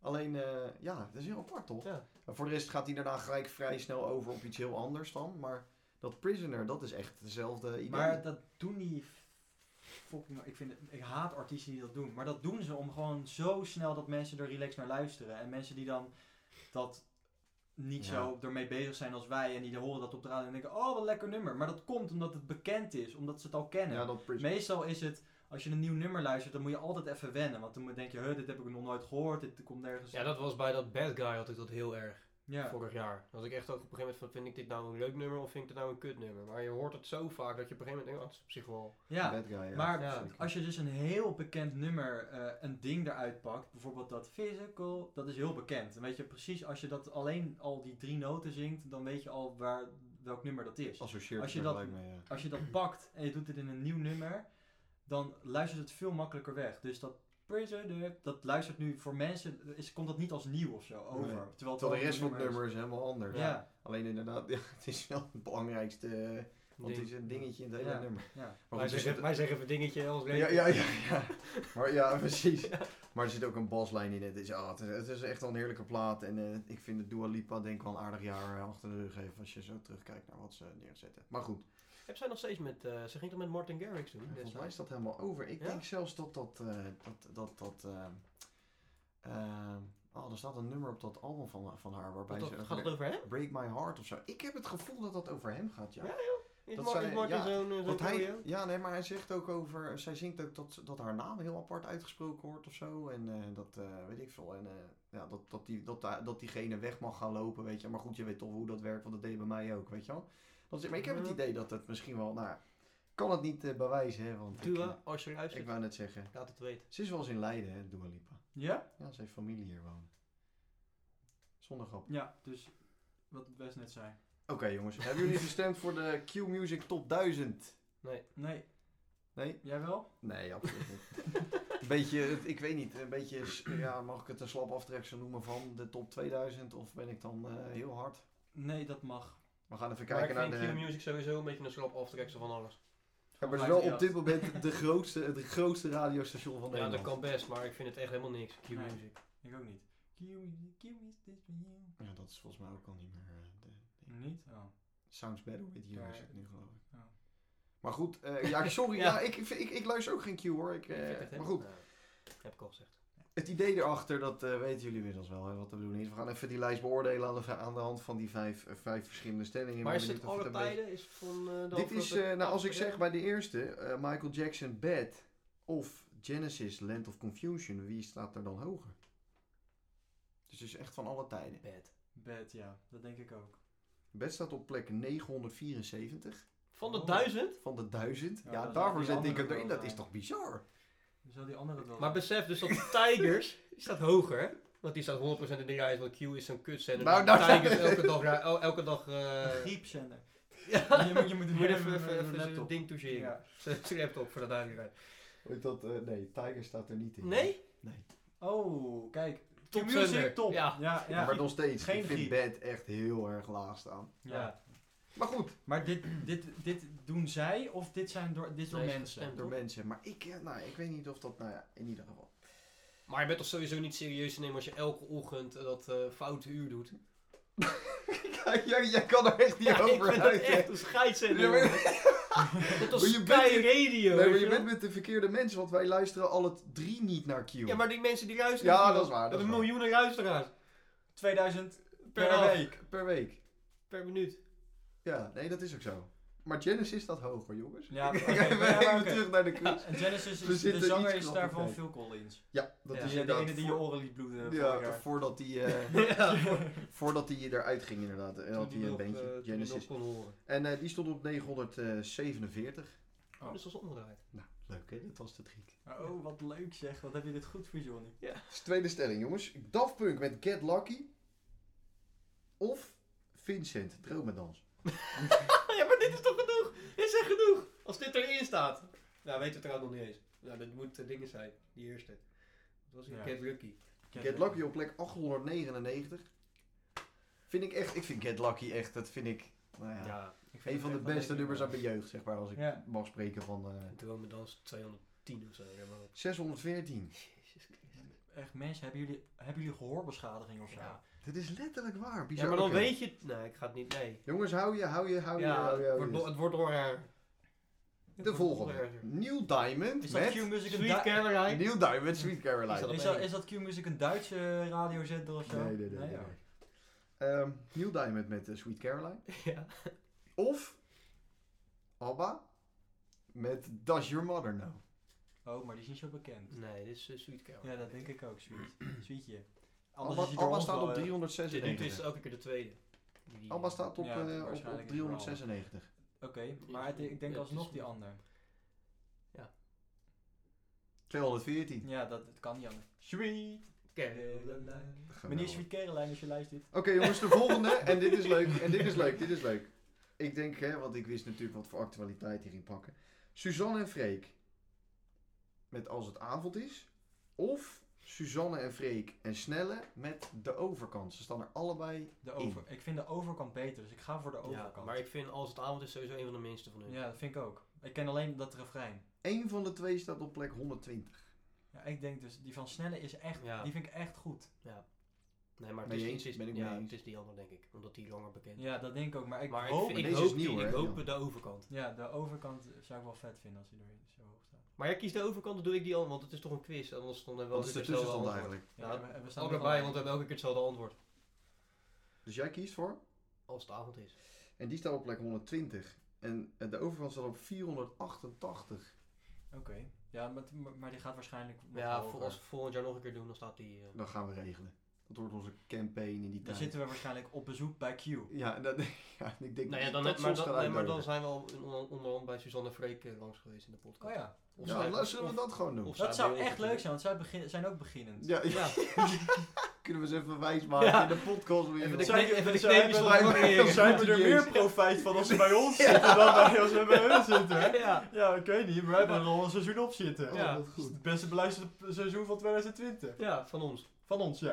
Speaker 2: Alleen, eh, ja, dat is heel apart toch?
Speaker 3: Ja.
Speaker 2: Maar voor de rest gaat hij daarna gelijk vrij snel over op iets heel anders dan. Maar dat Prisoner, dat is echt dezelfde idee.
Speaker 1: Maar dat doen die. Fucking, ik, vind het, ik haat artiesten die dat doen. Maar dat doen ze om gewoon zo snel dat mensen er relaxed naar luisteren. En mensen die dan dat niet
Speaker 2: Ja.
Speaker 1: zo ermee bezig zijn als wij. En die horen dat op de radio en denken: oh, wat een lekker nummer. Maar dat komt omdat het bekend is, omdat ze het al kennen.
Speaker 2: ja, dus- dat Prisoner.
Speaker 1: Meestal is het, als je een nieuw nummer luistert, dan moet je altijd even wennen. Want dan moet- denk je, huh, dit heb ik nog nooit gehoord, dit komt nergens.
Speaker 3: Ja, dat was bij dat Bad Guy had ik dat heel erg
Speaker 1: Ja.
Speaker 3: vorig jaar. Dat ik echt ook op een gegeven moment van, vind ik dit nou een leuk nummer of vind ik dit nou een kut nummer? Maar je hoort het zo vaak dat je op een gegeven moment denkt, oh, het is op zich wel...
Speaker 1: Ja,
Speaker 2: Bad guy, ja.
Speaker 1: maar
Speaker 3: Ja.
Speaker 1: als je dus een heel bekend nummer, eh, een ding eruit pakt, bijvoorbeeld dat physical, dat is heel bekend. Dan weet je precies, als je dat alleen al die drie noten zingt, dan weet je al waar, welk nummer dat is.
Speaker 2: associeert
Speaker 1: als je
Speaker 2: het er
Speaker 1: dat-
Speaker 2: gelijk mee, ja.
Speaker 1: Als je dat pakt en je doet het in een nieuw nummer, dan luistert het veel makkelijker weg. Dus dat Prisoner, dat luistert nu voor mensen, is, komt dat niet als nieuw of zo over.
Speaker 2: Nee.
Speaker 1: Terwijl het wel
Speaker 2: Terwijl de
Speaker 1: een
Speaker 2: rest van het
Speaker 1: nummer is.
Speaker 2: nummer is helemaal anders.
Speaker 1: Ja,
Speaker 2: Alleen inderdaad, ja, het is wel het belangrijkste. eh, Want het
Speaker 3: ding.
Speaker 2: is een dingetje in het hele
Speaker 1: Ja.
Speaker 2: nummer.
Speaker 1: ja.
Speaker 2: Maar
Speaker 3: wij,
Speaker 2: goed, er
Speaker 3: zeggen,
Speaker 2: zit,
Speaker 3: wij zeggen even dingetje, anders
Speaker 2: ja,
Speaker 3: weet
Speaker 2: ja, ja, ja. Maar ja, precies. Maar er zit ook een baslijn in. Het is, ah, het, is, het is echt wel een heerlijke plaat. En eh, ik vind de Dua Lipa denk ik wel een aardig jaar eh, achter de rug heeft. Als je zo terugkijkt naar wat ze neerzetten. Maar goed.
Speaker 3: Heb zij nog steeds met, eh, ze ging toch met Martin Garrix doen?
Speaker 2: Ja, Volgens mij
Speaker 3: destijds?
Speaker 2: is dat helemaal over. Ik
Speaker 3: Ja?
Speaker 2: denk zelfs dat dat. eh, dat, dat, dat eh, ehm, oh, er staat een nummer op dat album van, van haar waarbij
Speaker 3: Want dat-
Speaker 2: ze.
Speaker 3: gaat het over hem?
Speaker 2: Break My Heart of zo. Ik heb het gevoel dat dat over hem gaat, ja.
Speaker 3: Ja, joh. Is
Speaker 2: Dat
Speaker 3: Martin,
Speaker 2: zij-
Speaker 3: is Martin
Speaker 2: ja,
Speaker 3: zo'n eh, zo'n
Speaker 2: Want hij,
Speaker 3: trio?
Speaker 2: ja, nee, maar hij zegt ook over. Zij zingt ook dat, dat haar naam heel apart uitgesproken wordt of zo. En eh, dat eh, weet ik veel. En eh, ja, dat, dat, die, dat, da- dat diegene weg mag gaan lopen, weet je. Maar goed, je weet toch hoe dat werkt, want dat deed bij mij ook, weet je wel. Dat is, maar ik heb het
Speaker 3: Ja.
Speaker 2: idee dat het misschien wel. Nou, ik kan het niet eh, bewijzen, hè? Want ik, eh,
Speaker 3: Dua, als je luistert,
Speaker 2: ik wou net zeggen.
Speaker 3: laat het weten.
Speaker 2: Ze is wel eens in Leiden, hè, Dua Lipa.
Speaker 1: ja?
Speaker 2: Ja, ze heeft familie hier wonen. Zonder grap.
Speaker 1: Ja, dus wat ik best net zei.
Speaker 2: Oké jongens, hebben jullie gestemd voor de Q Music Top 1000?
Speaker 1: Nee.
Speaker 2: Nee?
Speaker 1: Jij wel?
Speaker 2: Nee, absoluut niet. Een beetje, het- ik weet niet, een beetje, s- ja, mag ik het een slap aftreksel noemen van de top 2000? Of ben ik dan eh, heel hard?
Speaker 1: Nee, dat mag.
Speaker 2: We gaan even
Speaker 3: Maar
Speaker 2: kijken
Speaker 3: ik
Speaker 2: naar
Speaker 3: vind
Speaker 2: de...
Speaker 3: Q-Music sowieso een beetje een slap aftreksel van alles.
Speaker 2: Ja, maar het is
Speaker 1: Maakt
Speaker 2: wel
Speaker 1: niet
Speaker 2: op
Speaker 1: uit.
Speaker 2: dit moment de grootste, het grootste radiostation van
Speaker 3: Ja,
Speaker 2: Nederland.
Speaker 3: dat kan best, maar ik vind het echt helemaal niks,
Speaker 1: Nee.
Speaker 3: Q-Music.
Speaker 1: Ik ook niet. Kiwi- kiwi is dit van jou?
Speaker 2: Ja, dat is volgens mij ook al niet meer... eh, de,
Speaker 1: Niet? Oh.
Speaker 2: Sounds Better With You
Speaker 1: Ja,
Speaker 2: is
Speaker 1: ja.
Speaker 2: het nu, geloof ik.
Speaker 1: Ja.
Speaker 2: Maar goed, eh, ja, sorry,
Speaker 3: Ja.
Speaker 2: ja. ik, ik, ik, ik luister ook geen Q hoor. Ik, eh,
Speaker 3: Ik vind het
Speaker 2: maar
Speaker 3: helemaal-
Speaker 2: goed,
Speaker 3: Ja, heb ik al gezegd.
Speaker 2: het idee erachter, dat eh, weten jullie inmiddels wel, hè, wat de bedoeling is. We gaan even die lijst beoordelen aan de, aan de hand van die vijf, eh, vijf verschillende stellingen.
Speaker 3: Maar
Speaker 2: We
Speaker 3: is
Speaker 2: benieuwd
Speaker 3: het
Speaker 2: of
Speaker 3: alle
Speaker 2: een beetje-
Speaker 3: tijden? Is het van, eh, de
Speaker 2: Dit is,
Speaker 3: afgelopen-
Speaker 2: eh, nou als ik zeg
Speaker 3: afgelopen
Speaker 2: bij de eerste, eh, Michael Jackson Bad of Genesis Land of Confusion, wie staat er dan hoger? Dus het is echt van alle tijden.
Speaker 3: jaar? Bad.
Speaker 1: Bad, ja. Dat denk ik ook.
Speaker 2: Bad staat op plek 974
Speaker 3: Van de
Speaker 1: Oh.
Speaker 3: duizend?
Speaker 2: van de 1000.
Speaker 1: Ja,
Speaker 2: Ja,
Speaker 1: dat is wel
Speaker 2: daarvoor
Speaker 1: die
Speaker 2: zet ik
Speaker 1: andere
Speaker 2: het erin.
Speaker 1: wel,
Speaker 2: Dat is
Speaker 1: ja.
Speaker 2: toch bizar?
Speaker 1: Dan zou die andere het wel
Speaker 3: Maar besef dus dat Tigers, die staat hoger hè? Want die staat 100% in de lijst, want Q is zo'n kutzender.
Speaker 2: Nou,
Speaker 3: die
Speaker 2: nou,
Speaker 3: Tigers elke dag, ra- el- elke dag eh,
Speaker 1: Een griepzender. Ja. Je moet, je moet,
Speaker 3: Ik moet eh,
Speaker 1: weer
Speaker 3: even,
Speaker 1: met
Speaker 3: even,
Speaker 1: een
Speaker 3: even zijn
Speaker 1: laptop.
Speaker 3: ding toucheren.
Speaker 1: Ja.
Speaker 3: Zijn zijn laptop voor de duidelijkheid.
Speaker 2: Weet dat, eh, nee, Tiger staat er niet in.
Speaker 3: Nee?
Speaker 1: Oh, kijk.
Speaker 3: Top
Speaker 1: Q Music,
Speaker 3: zender.
Speaker 1: top.
Speaker 3: Ja.
Speaker 1: ja, ja.
Speaker 2: maar nog steeds,
Speaker 1: Geen
Speaker 2: ik vind
Speaker 1: drie.
Speaker 2: bed echt heel erg laag staan.
Speaker 1: Ja.
Speaker 2: Maar goed,
Speaker 1: Maar dit, dit, dit doen zij of dit zijn door, dit door
Speaker 3: Nee,
Speaker 1: mensen?
Speaker 3: gestemd.
Speaker 2: door mensen. Maar ik, eh, nou, ik weet niet of dat, nou ja, in ieder geval.
Speaker 3: Maar je bent toch sowieso niet serieus te nemen als je elke ochtend eh, dat eh, foute uur doet.
Speaker 2: jij, jij kan er echt niet
Speaker 3: Ja, ik
Speaker 2: over
Speaker 3: vind dat
Speaker 2: uit, hè.
Speaker 3: echt een scheidsender.
Speaker 2: Ja, maar-
Speaker 3: jongen. Dat was
Speaker 2: Maar je
Speaker 3: Sky
Speaker 2: bent hier-
Speaker 3: Radio.
Speaker 2: Nee, maar
Speaker 3: weet
Speaker 2: je
Speaker 3: je wel.
Speaker 2: bent met de verkeerde mensen, want wij luisteren alle drie niet naar Q.
Speaker 3: Ja, maar die mensen die luisteren.
Speaker 2: Ja,
Speaker 3: niet,
Speaker 2: dat is
Speaker 3: joh.
Speaker 2: waar, dat
Speaker 3: Dat
Speaker 2: is
Speaker 3: hebben
Speaker 2: waar.
Speaker 3: miljoenen luisteraars
Speaker 1: 2000 per,
Speaker 3: per, dag,
Speaker 1: week.
Speaker 2: Per week.
Speaker 3: per minuut.
Speaker 2: Ja, nee, dat is ook zo. Maar Genesis staat hoger, jongens.
Speaker 1: Ja,
Speaker 2: we
Speaker 1: oké,
Speaker 2: even
Speaker 1: maar ja, oké.
Speaker 2: terug naar de quiz.
Speaker 1: En Genesis,
Speaker 2: We
Speaker 1: is, de
Speaker 2: zitten
Speaker 1: zanger
Speaker 2: iets
Speaker 1: is daarvan
Speaker 2: knapper
Speaker 1: Phil Collins.
Speaker 2: Ja, dat
Speaker 3: Ja.
Speaker 2: is
Speaker 1: Ja, de
Speaker 2: inderdaad...
Speaker 1: ene die je
Speaker 2: voor-
Speaker 1: oren liet
Speaker 3: eh,
Speaker 1: bloeden vorig
Speaker 2: ja,
Speaker 1: jaar.
Speaker 2: voordat die, eh, voordat die eruit ging inderdaad. En had
Speaker 3: Toen
Speaker 2: hij een
Speaker 3: nog, eh,
Speaker 2: bandje,
Speaker 3: toen die nog
Speaker 2: Genesis.
Speaker 3: kon horen.
Speaker 2: En eh, die stond op 947.
Speaker 1: Oh.
Speaker 3: Dus dat is omgedraaid.
Speaker 2: Nou, leuk hè, dat was de trick.
Speaker 1: Oh, wat leuk zeg. Wat heb je dit goed verzonnen.
Speaker 2: Dat is de tweede stelling, jongens. Daft Punk met Get Lucky. Of Vincent, Dromedans.
Speaker 3: Ah, ja, maar dit is toch genoeg? Dit is echt genoeg. Als dit erin staat. Nou, weten we trouwens nog niet eens. Nou, dat moet eh, dingen zijn. Die eerste. Dat was een
Speaker 1: Ja.
Speaker 3: Get Lucky.
Speaker 2: Get Lucky op plek 899. Vind ik echt, ik vind Get Lucky echt, dat vind ik, nou ja,
Speaker 1: Ik vind
Speaker 2: een
Speaker 1: het
Speaker 2: van de
Speaker 1: echt wel
Speaker 2: beste
Speaker 1: leuk.
Speaker 2: nummers uit mijn jeugd, zeg maar, als ik
Speaker 1: Ja.
Speaker 2: mag spreken van eh,
Speaker 3: En toen hadden we dans 210 of zo. Ja, maar...
Speaker 2: 614.
Speaker 3: Jezus Christus.
Speaker 1: Echt mensen, hebben jullie, hebben jullie gehoorbeschadiging of zo?
Speaker 3: Ja.
Speaker 2: Dat is letterlijk waar, bizar.
Speaker 3: Ja, maar dan
Speaker 2: Oké. Oh,
Speaker 3: weet je... het- Nee, ik ga het niet... Nee.
Speaker 2: Jongens, hou je, hou je, hou je,
Speaker 3: Ja,
Speaker 2: hou je.
Speaker 3: het
Speaker 2: hou
Speaker 3: wordt,
Speaker 2: je.
Speaker 3: nog- het wordt nog erger.
Speaker 2: De volgende. New Diamond
Speaker 1: Is dat
Speaker 2: met...
Speaker 1: Q-Music een,
Speaker 3: Sweet
Speaker 1: Du-
Speaker 3: Caroline.
Speaker 2: New Diamond, Sweet
Speaker 3: Is
Speaker 2: Caroline.
Speaker 3: dat-
Speaker 1: is dat, is dat Q-Music een Duitse radiozender of zo?
Speaker 2: Nee, nee, nee. nee,
Speaker 1: ja.
Speaker 2: nee. Ehm, New Diamond met eh, Sweet Caroline.
Speaker 3: Ja.
Speaker 2: Of Abba met Does Your Mother Know.
Speaker 1: Oh, maar die is niet zo bekend.
Speaker 3: Nee, dit is eh, Sweet Caroline.
Speaker 1: Ja, dat denk ik ook, sweet. Sweetje. Anders
Speaker 2: Abba,
Speaker 1: is hij door
Speaker 2: Abba
Speaker 1: ons
Speaker 2: staat
Speaker 1: wel,
Speaker 2: op
Speaker 1: eh,
Speaker 3: Dit dit
Speaker 2: 396.
Speaker 3: is elke keer de tweede. Die-
Speaker 2: Abba staat op,
Speaker 1: Ja,
Speaker 2: eh, op, op
Speaker 1: waarschijnlijk is het
Speaker 2: 396.
Speaker 1: eh, Oké, maar het- ik denk
Speaker 3: Ja, het is
Speaker 1: alsnog
Speaker 3: goed.
Speaker 1: die ander.
Speaker 2: 214.
Speaker 1: Ja, dat, dat kan niet anders. Sweet
Speaker 3: Caroline.
Speaker 1: Meneer Sweet Caroline, als je luistert.
Speaker 2: Oké jongens, de volgende. En dit is leuk. En dit is leuk. Dit is leuk. Ik denk, hè, want ik wist natuurlijk wat voor actualiteit hierin pakken. Suzanne en Freek. Met Als het avond is. Of Suzanne en Freek en Snelle met De Overkant. Ze staan er allebei.
Speaker 1: De over, ik vind de overkant beter, dus ik ga voor de overkant.
Speaker 3: Ja, maar ik vind Als het avond is sowieso een van de minste van hun.
Speaker 1: Ja, dat vind ik ook. Ik ken alleen dat refrein.
Speaker 2: Eén van de twee staat op plek 120.
Speaker 1: Ja, ik denk dus, die van Snelle is echt,
Speaker 3: Ja.
Speaker 1: die vind ik echt goed.
Speaker 3: Nee, maar het
Speaker 2: Ben
Speaker 3: is,
Speaker 2: je
Speaker 3: het
Speaker 2: eens?
Speaker 3: is-
Speaker 2: Ben ik mee
Speaker 3: ja,
Speaker 2: eens.
Speaker 3: het is die ander, denk ik. Omdat die langer bekend is.
Speaker 1: Ja, dat denk ik ook, maar ik
Speaker 3: maar
Speaker 1: hoop...
Speaker 3: ik,
Speaker 2: Maar
Speaker 3: vind, ik
Speaker 2: deze
Speaker 3: hoop,
Speaker 2: is dus nieuw,
Speaker 3: die, ik
Speaker 2: hè,
Speaker 3: hoop
Speaker 2: ja.
Speaker 3: de overkant.
Speaker 1: ja, de overkant zou ik wel vet vinden als die er zo hoog staat.
Speaker 3: Maar jij kiest de overkant, dan doe ik die ander, want het is toch een quiz. Anders dan hebben we
Speaker 2: Wat
Speaker 3: elke
Speaker 2: is
Speaker 3: keer
Speaker 2: de
Speaker 3: hetzelfde
Speaker 2: tussenstand
Speaker 3: antwoord.
Speaker 2: eigenlijk?
Speaker 3: Ja,
Speaker 1: we, we
Speaker 3: Allebei,
Speaker 1: er
Speaker 3: bij,
Speaker 1: gelijk.
Speaker 3: want we hebben elke keer hetzelfde antwoord.
Speaker 2: Dus jij kiest voor?
Speaker 3: Als het avond is.
Speaker 2: En die staat op plek 120. En eh, De Overkant staat op 488.
Speaker 1: Oké, ja, maar, maar- maar die gaat waarschijnlijk nog
Speaker 3: ja,
Speaker 1: hoger.
Speaker 3: voor, als we volgend jaar nog een keer doen, dan staat die... eh,
Speaker 2: Dat gaan we regelen. Dat wordt onze campaign in die
Speaker 1: Dan
Speaker 2: tijd.
Speaker 1: zitten we waarschijnlijk op bezoek bij Q.
Speaker 2: Ja, en dat, ja, ik denk
Speaker 3: nou ja,
Speaker 2: dat
Speaker 3: dan,
Speaker 2: dat
Speaker 3: maar,
Speaker 2: soms
Speaker 3: dan,
Speaker 2: gaat
Speaker 3: nee, maar dan
Speaker 2: uitnodigen.
Speaker 3: zijn we al in- onder- onderhand bij Suzanne Freek eh, langs geweest in de
Speaker 1: Oh
Speaker 3: podcast.
Speaker 1: ja,
Speaker 3: Of
Speaker 2: Ja,
Speaker 3: zij-
Speaker 2: laten zullen
Speaker 3: of-
Speaker 2: we dat gewoon doen.
Speaker 3: of zij
Speaker 1: dat zou
Speaker 3: bij ons
Speaker 1: echt leuk
Speaker 3: natuurlijk.
Speaker 1: zijn, want zij begin, zijn ook beginnend.
Speaker 2: Ja, ja.
Speaker 3: Ja,
Speaker 2: kunnen we ze even wijs maken
Speaker 3: Ja.
Speaker 2: in de podcast weer.
Speaker 3: Even
Speaker 2: joh.
Speaker 3: de
Speaker 1: Zij-
Speaker 3: kne- even de
Speaker 1: zij
Speaker 3: kneepjes
Speaker 1: hebben-
Speaker 3: van
Speaker 2: wij-
Speaker 3: Freek.
Speaker 2: Ja,
Speaker 1: Zijn we er
Speaker 2: serieus.
Speaker 1: meer profijt van als ze bij ons zitten dan wij als ze bij hun zitten? hè?
Speaker 3: Ja.
Speaker 1: Ja, ik weet niet, maar wij hebben er al een seizoen op zitten.
Speaker 3: Ja.
Speaker 2: Oh,
Speaker 1: Het
Speaker 2: wat
Speaker 1: is
Speaker 2: goed.
Speaker 1: het beste beluisterde seizoen van 2020.
Speaker 3: ja, van ons.
Speaker 1: Van ons, ja.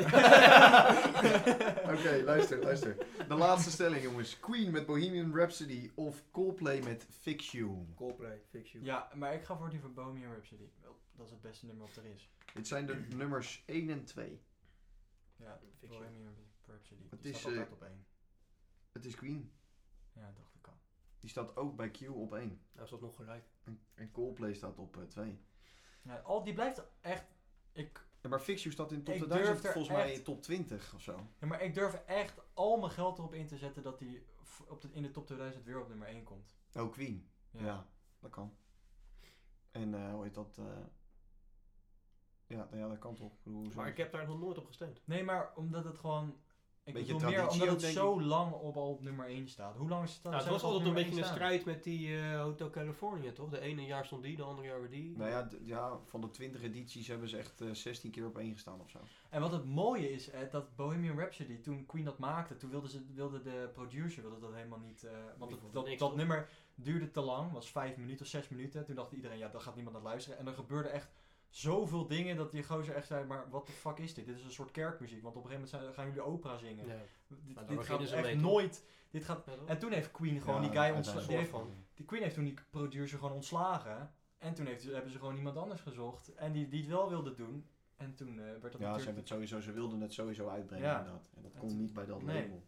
Speaker 2: Oké, luister, luister. De laatste stelling, jongens. Queen met Bohemian Rhapsody of Coldplay met Fix You.
Speaker 3: Coldplay, fix you.
Speaker 1: ja, maar ik ga voor die van Bohemian Rhapsody. Wel, Dat is het beste nummer wat er is.
Speaker 2: Dit zijn de nummers 1 en 2.
Speaker 1: Ja,
Speaker 3: Fix you.
Speaker 1: Bohemian Rhapsody.
Speaker 2: Het
Speaker 1: Die
Speaker 2: is,
Speaker 1: staat altijd
Speaker 2: eh,
Speaker 1: op één.
Speaker 2: Het is Queen.
Speaker 1: Ja, dat dacht ik al.
Speaker 2: Die staat ook bij Q op 1.
Speaker 3: Nou is dat nog gelijk.
Speaker 2: En Coldplay staat op eh, 2.
Speaker 1: Ja, al, die blijft echt... Ik,
Speaker 2: ja, maar Fix You staat in top
Speaker 1: Ik
Speaker 2: 2000,
Speaker 1: durf er
Speaker 2: volgens mij
Speaker 1: echt-
Speaker 2: in top 20 of zo.
Speaker 1: ja, maar ik durf echt al mijn geld erop in te zetten dat die f- op de, in de top 2000 weer op nummer 1 komt.
Speaker 2: Oh, Queen. Ja, dat kan. En eh, hoe heet dat? eh, Ja, nou ja, dat kan toch. Ik bedoel, hoezo-
Speaker 3: Maar ik heb daar nog nooit op gestemd.
Speaker 1: Nee, maar omdat het gewoon... Ik
Speaker 2: Beetje
Speaker 1: bedoel meer
Speaker 2: traditie
Speaker 1: omdat
Speaker 2: ook,
Speaker 1: het
Speaker 2: denk
Speaker 1: zo lang op, al op nummer 1 staat. Hoe lang staat
Speaker 3: Nou, het
Speaker 1: zijn
Speaker 3: was
Speaker 1: we al op
Speaker 3: altijd een
Speaker 1: nummer
Speaker 3: beetje een
Speaker 1: 1 staan?
Speaker 3: strijd met die eh, Hotel California, toch? De ene jaar stond die, de andere jaar weer die.
Speaker 2: Nou ja, d- ja, van de 20 edities hebben ze echt eh, 16 keer op één gestaan of zo.
Speaker 1: En wat het mooie is, Ed, dat Bohemian Rhapsody, toen Queen dat maakte, toen wilde, ze, wilde de producer wilde dat helemaal niet. eh, want
Speaker 3: Die
Speaker 1: het-
Speaker 3: vond
Speaker 1: dat,
Speaker 3: niks,
Speaker 1: dat
Speaker 3: toch?
Speaker 1: nummer duurde te lang, was vijf minuten of zes minuten. Toen dacht iedereen, ja, daar gaat niemand naar luisteren. En er gebeurde echt zoveel dingen dat die gozer echt zei, maar wat de fuck is dit? Dit is een soort kerkmuziek, want op een gegeven moment zijn- gaan jullie opera zingen.
Speaker 3: Ja. Nou,
Speaker 1: Dit, dit
Speaker 3: daar
Speaker 1: gaat
Speaker 3: beginnen ze
Speaker 1: echt
Speaker 3: mee, toch?
Speaker 1: nooit... Dit gaat...
Speaker 3: Ja, toch?
Speaker 1: En toen heeft Queen gewoon
Speaker 2: Ja,
Speaker 1: die guy
Speaker 2: uiteindelijk.
Speaker 1: ontslagen.
Speaker 3: van.
Speaker 1: Die Queen heeft toen die producer gewoon ontslagen. En toen heeft, hebben ze gewoon iemand anders gezocht. En die, die het wel wilde doen. En toen eh, werd dat
Speaker 2: ja, ze,
Speaker 1: natuurlijk...
Speaker 2: hebben het sowieso, ze wilden het sowieso uitbrengen
Speaker 1: Ja.
Speaker 2: inderdaad. En dat
Speaker 1: En
Speaker 2: kon
Speaker 1: toen-
Speaker 2: niet bij dat
Speaker 1: nee.
Speaker 2: label.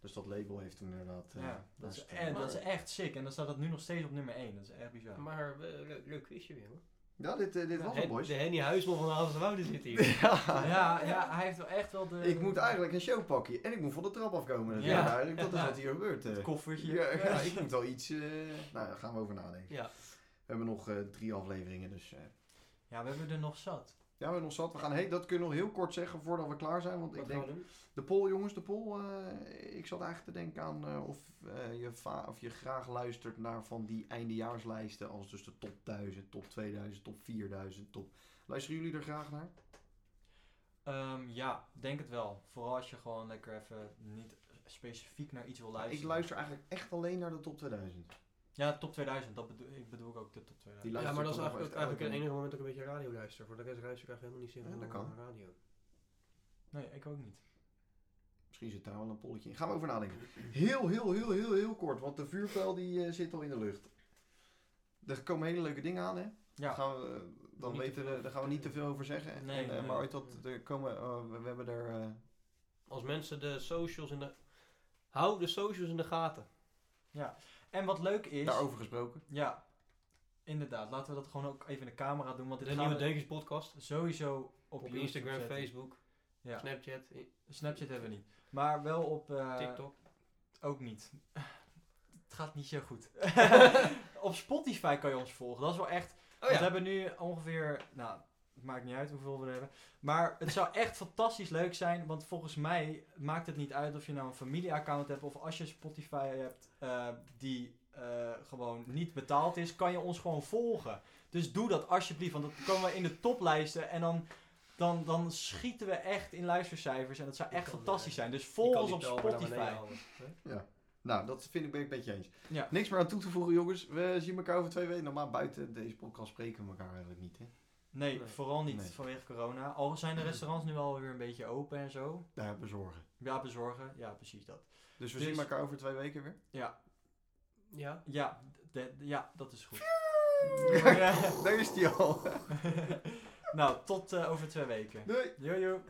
Speaker 2: Dus dat label heeft toen inderdaad... eh,
Speaker 1: Ja, dat is,
Speaker 2: luisteren.
Speaker 1: eh, dat is echt sick. En dan staat dat nu nog steeds op nummer 1. Dat is echt bizar.
Speaker 3: Maar eh, le- leuk quizje weer hoor.
Speaker 2: Ja, dit, eh, dit was
Speaker 3: Hen-
Speaker 2: het, boys.
Speaker 3: De Henny Huisman van de Havense zit hier.
Speaker 2: Ja.
Speaker 1: ja, ja, hij heeft wel echt wel de...
Speaker 2: Ik moet eigenlijk een show pakken en ik moet van de trap afkomen. Dat, is
Speaker 1: Ja.
Speaker 2: duidelijk. dat is wat hier gebeurt. eh.
Speaker 1: Het koffertje.
Speaker 2: Ja, ja, ik moet wel iets... eh, nou, daar gaan we over nadenken.
Speaker 3: Ja.
Speaker 2: We hebben nog eh, drie afleveringen, dus... eh,
Speaker 1: Ja, we hebben er nog zat.
Speaker 2: ja, we hebben nog zat. We gaan, hey, dat kunnen we nog heel kort zeggen voordat we klaar zijn. Want ik
Speaker 3: Wat
Speaker 2: denk
Speaker 3: gaan we doen?
Speaker 2: De poll, jongens, de poll. eh, ik zat eigenlijk te denken aan eh, of, eh, je va- of je graag luistert naar van die eindejaarslijsten. Als dus de top 1000, top 2000, top 4000, top... Luisteren jullie er graag naar?
Speaker 1: Ehm, ja, denk het wel. Vooral als je gewoon lekker even niet specifiek naar iets wil luisteren.
Speaker 2: Ik luister eigenlijk echt alleen naar de top 2000.
Speaker 1: Ja, top 2000. Dat bedoel, ik bedoel ik ook de top 2000.
Speaker 2: Die
Speaker 3: Ja,
Speaker 2: luister
Speaker 3: maar
Speaker 2: ik toch
Speaker 3: dat is
Speaker 2: nog echt
Speaker 3: eigenlijk, eigenlijk het
Speaker 2: elke
Speaker 3: enige moment dat ik een beetje radio luister. Voor de rest luister ik eigenlijk helemaal niet zin
Speaker 2: Ja,
Speaker 3: van
Speaker 2: dat kan.
Speaker 3: radio.
Speaker 1: Nee, ik ook niet.
Speaker 2: Misschien zit daar wel een polletje in. Gaan we over nadenken. Heel, heel, heel, heel, heel kort. Want de vuurpijl die eh, zit al in de lucht. Er komen hele leuke dingen aan, hè?
Speaker 1: Ja.
Speaker 2: Gaan we, eh, dan
Speaker 1: Niet te
Speaker 2: weten we,
Speaker 1: veel.
Speaker 2: daar gaan we niet te veel over zeggen.
Speaker 1: Nee,
Speaker 2: En, eh,
Speaker 1: nee.
Speaker 2: Maar ooit dat er komen, eh, we, we hebben er... eh,
Speaker 3: Als mensen de socials in de... Hou de socials in de gaten.
Speaker 1: En wat leuk is...
Speaker 2: Daarover gesproken.
Speaker 1: Ja, inderdaad. Laten we dat gewoon ook even in de camera doen. Want dit
Speaker 3: De
Speaker 1: gaan
Speaker 3: nieuwe
Speaker 1: we
Speaker 3: Denkers podcast.
Speaker 1: sowieso op,
Speaker 3: Op,
Speaker 1: YouTube
Speaker 3: Instagram,
Speaker 1: zetten.
Speaker 3: Facebook,
Speaker 1: Ja.
Speaker 3: Snapchat, i-
Speaker 1: Snapchat hebben we niet. Maar wel op... eh,
Speaker 3: TikTok.
Speaker 1: Ook niet. Het gaat niet zo goed. op Spotify kan je ons volgen. Dat is wel echt...
Speaker 3: Oh
Speaker 1: We
Speaker 3: ja.
Speaker 1: hebben nu ongeveer... Nou, het maakt niet uit hoeveel we er hebben. Maar het zou echt fantastisch leuk zijn. Want volgens mij maakt het niet uit of je nou een familieaccount hebt... of als je Spotify hebt eh, die eh, gewoon niet betaald is... kan je ons gewoon volgen. Dus doe dat alsjeblieft. Want dan komen we in de toplijsten en dan... Dan, dan schieten we echt in luistercijfers en dat zou
Speaker 3: Ik
Speaker 1: echt
Speaker 3: kan, eh,
Speaker 1: fantastisch zijn. Dus
Speaker 3: Je
Speaker 1: volg
Speaker 3: kan
Speaker 1: ons op
Speaker 3: die pijl maar naar
Speaker 1: Spotify.
Speaker 3: beneden houden.
Speaker 2: Nou, dat vind ik ben ik met je eens.
Speaker 1: Ja.
Speaker 2: Niks meer aan toe te voegen, jongens. We zien elkaar over twee weken. Normaal buiten deze podcast spreken we elkaar eigenlijk niet. Hè?
Speaker 1: Nee,
Speaker 3: Nee.
Speaker 1: vooral niet
Speaker 2: Nee.
Speaker 1: vanwege corona. Al zijn de restaurants nu alweer een beetje open en zo.
Speaker 2: Daar hebben we zorgen.
Speaker 1: Ja, bezorgen. Ja, precies dat.
Speaker 2: Dus we
Speaker 1: Dus-
Speaker 2: zien elkaar over twee weken weer.
Speaker 3: Ja.
Speaker 1: Ja, de- de- ja dat is goed.
Speaker 2: Daar is die al.
Speaker 1: nou, tot eh, over twee weken.
Speaker 2: Doei.
Speaker 1: Jojo.